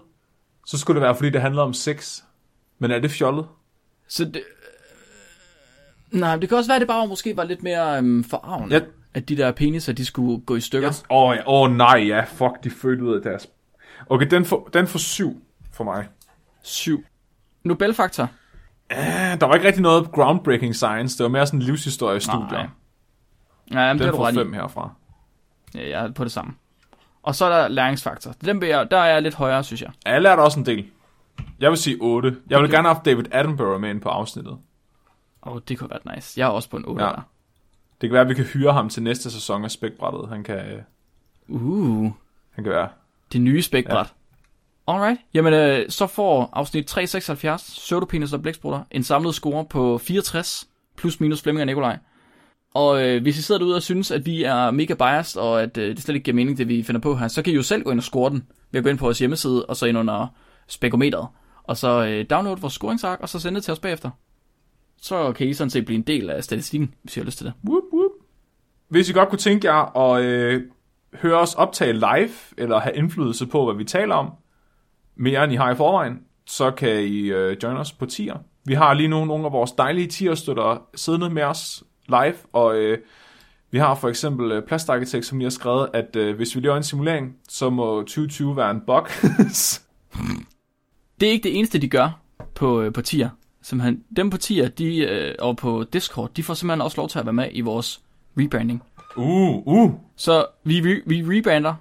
Speaker 2: Så skulle det være, fordi det handler om sex. Men er det fjollet?
Speaker 1: Så det... øh, Nej, det kan også være, at det bare måske var lidt mere øhm, forarvende,
Speaker 2: Ja.
Speaker 1: at de der peniser, de skulle gå i stykker.
Speaker 2: Åh oh, ja. oh, nej, ja. Fuck, de følte ud af deres... Okay, den får, den får syv for mig.
Speaker 1: 7. Nobelfaktor.
Speaker 2: Ja, Ah, Der var ikke rigtig noget groundbreaking science. Det var mere sådan en livshistorie-studier.
Speaker 1: Nej. Ja, jamen, det er
Speaker 2: Den
Speaker 1: du
Speaker 2: får
Speaker 1: ret i.
Speaker 2: fem herfra.
Speaker 1: Ja, jeg er på det samme. Og så er der læringsfaktor. Den vil jeg, der er jeg lidt højere, synes jeg.
Speaker 2: Ja, Jeg lærte også en del. Jeg vil sige 8. Jeg vil gerne have haft David Attenborough med ind på afsnittet.
Speaker 1: Åh, oh, det kunne være nice. Jeg er også på en 8.
Speaker 2: Ja.
Speaker 1: Ja. Der.
Speaker 2: Det kan være, at vi kan hyre ham til næste sæson af spækbrættet. Han kan, øh,
Speaker 1: Uh,
Speaker 2: han kan være...
Speaker 1: det nye spækbræt. Ja. Alright. Jamen, øh, så får afsnit 376, Pseudopenis og Blæksprutter, en samlet score på 64, plus minus Flemming og Nikolaj. Og øh, hvis I sidder derude og synes, at vi er mega biased, og at øh, det slet ikke giver mening, det vi finder på her, så kan I jo selv gå ind og score den, ved at gå ind på vores hjemmeside, og så ind under spekometeret. Og så øh, download vores scoringsark, og så sende det til os bagefter. Så kan I sådan set blive en del af statistikken, hvis I har lyst til det.
Speaker 2: Whoop, whoop. Hvis I godt kunne tænke jer at øh, høre os optage live, eller have indflydelse på, hvad vi taler om, mere end I har i forvejen, så kan I øh, join os på tier. Vi har lige nu nogle af vores dejlige tierstøtter siddende med os live, og øh, vi har for eksempel øh, Plastarkitekt, som lige har skrevet, at øh, hvis vi laver en simulering, så må 2020 være en bug.
Speaker 1: det er ikke det eneste, de gør på, øh, på tier. Simpelthen, dem på tier de, øh, og på Discord, de får simpelthen også lov til at være med i vores rebranding.
Speaker 2: (laughs) uh, uh.
Speaker 1: Så vi, re- vi rebrander.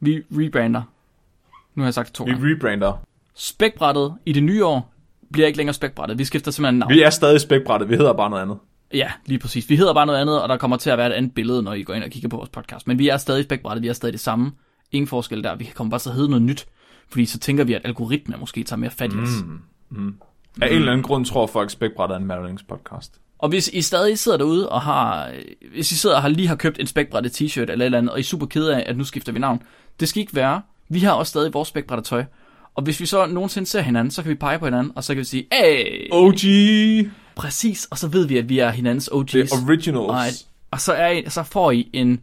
Speaker 1: Vi rebrander. Nu har jeg sagt det to
Speaker 2: Vi
Speaker 1: gange.
Speaker 2: rebrander.
Speaker 1: Spækbrættet i det nye år bliver ikke længere spækbrættet. Vi skifter simpelthen navn.
Speaker 2: Vi er stadig spækbrættet, vi hedder bare noget andet.
Speaker 1: Ja, lige præcis. Vi hedder bare noget andet, og der kommer til at være et andet billede, når I går ind og kigger på vores podcast. Men vi er stadig spækbrættet, vi er stadig det samme. Ingen forskel der. Vi kan komme bare til at hedde noget nyt. Fordi så tænker vi, at algoritmer måske tager mere fat i os. Mm.
Speaker 2: Af en eller anden grund tror folk, spækbrættet er en Madeline's podcast.
Speaker 1: Og hvis I stadig sidder derude og har, øh, hvis I sidder og har lige har købt en spækbrættet t-shirt eller et eller andet, og I er super kede af, at nu skifter vi navn, det skal ikke være. Vi har også stadig vores spækbrættet tøj. Og hvis vi så nogensinde ser hinanden, så kan vi pege på hinanden, og så kan vi sige, hey,
Speaker 2: OG!
Speaker 1: præcis, og så ved vi, at vi er hinandens OG's.
Speaker 2: Det er originals.
Speaker 1: og, at- og så, er I, så får I en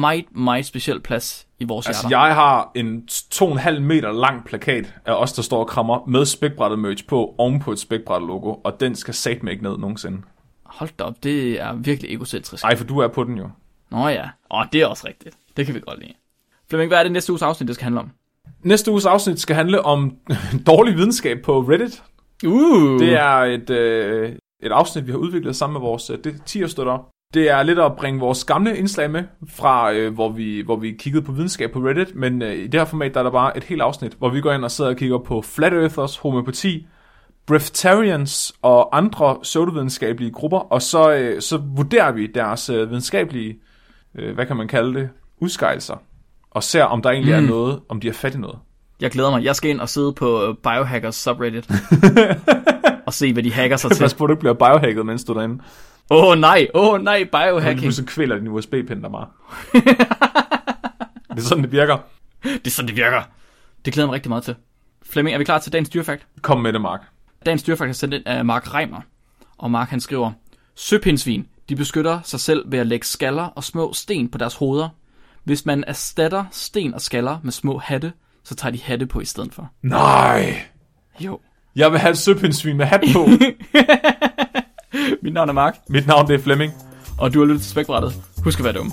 Speaker 1: meget, meget speciel plads i vores
Speaker 2: Altså,
Speaker 1: hjerter.
Speaker 2: jeg har en 2,5 meter lang plakat af os, der står og krammer med spækbrættet merch på oven på et spækbrættet logo, og den skal satme ikke ned nogensinde.
Speaker 1: Hold da op, det er virkelig egocentrisk.
Speaker 2: Ej, for du er på den jo.
Speaker 1: Nå ja, og det er også rigtigt. Det kan vi godt lide. Flemming, hvad er det næste uges afsnit, det skal handle om?
Speaker 2: Næste uges afsnit skal handle om (laughs) dårlig videnskab på Reddit.
Speaker 1: Uh,
Speaker 2: Det er et, øh, et afsnit, vi har udviklet sammen med vores øh, det- tierstøtter. Det er lidt at bringe vores gamle indslag med, fra øh, hvor, vi, hvor vi kiggede på videnskab på Reddit, men øh, i det her format, der er der bare et helt afsnit, hvor vi går ind og sidder og kigger på flat earthers, homøopati, breatharians og andre pseudovidenskabelige grupper, og så, øh, så vurderer vi deres øh, videnskabelige, øh, hvad kan man kalde det, udskejelser, og ser om der egentlig mm. er noget, om de har fat i noget.
Speaker 1: Jeg glæder mig. Jeg skal ind og sidde på øh, Biohackers (laughs) subreddit. og se, hvad de hacker sig til.
Speaker 2: Pas på, at du ikke bliver biohacket, mens du er derinde.
Speaker 1: Åh oh, nej, åh oh, nej, biohacking.
Speaker 2: Okay. Så kvæler din USB-pind der (laughs) bare. det er sådan, det virker.
Speaker 1: Det er sådan, det virker. Det glæder jeg mig rigtig meget til. Flemming, er vi klar til dagens dyrefakt?
Speaker 2: Kom med det, Mark.
Speaker 1: Dagens dyrefakt er sendt ind af Mark Reimer. Og Mark han skriver, Søpindsvin, de beskytter sig selv ved at lægge skaller og små sten på deres hoveder. Hvis man erstatter sten og skaller med små hatte, så tager de hatte på i stedet for.
Speaker 2: Nej!
Speaker 1: Jo.
Speaker 2: Jeg vil have et søpindsvin med hat (laughs) på.
Speaker 1: Mit navn er Mark,
Speaker 2: Mit navn det er Flemming.
Speaker 1: og du har lyttet til Spækbrættet. Husk at være dumme.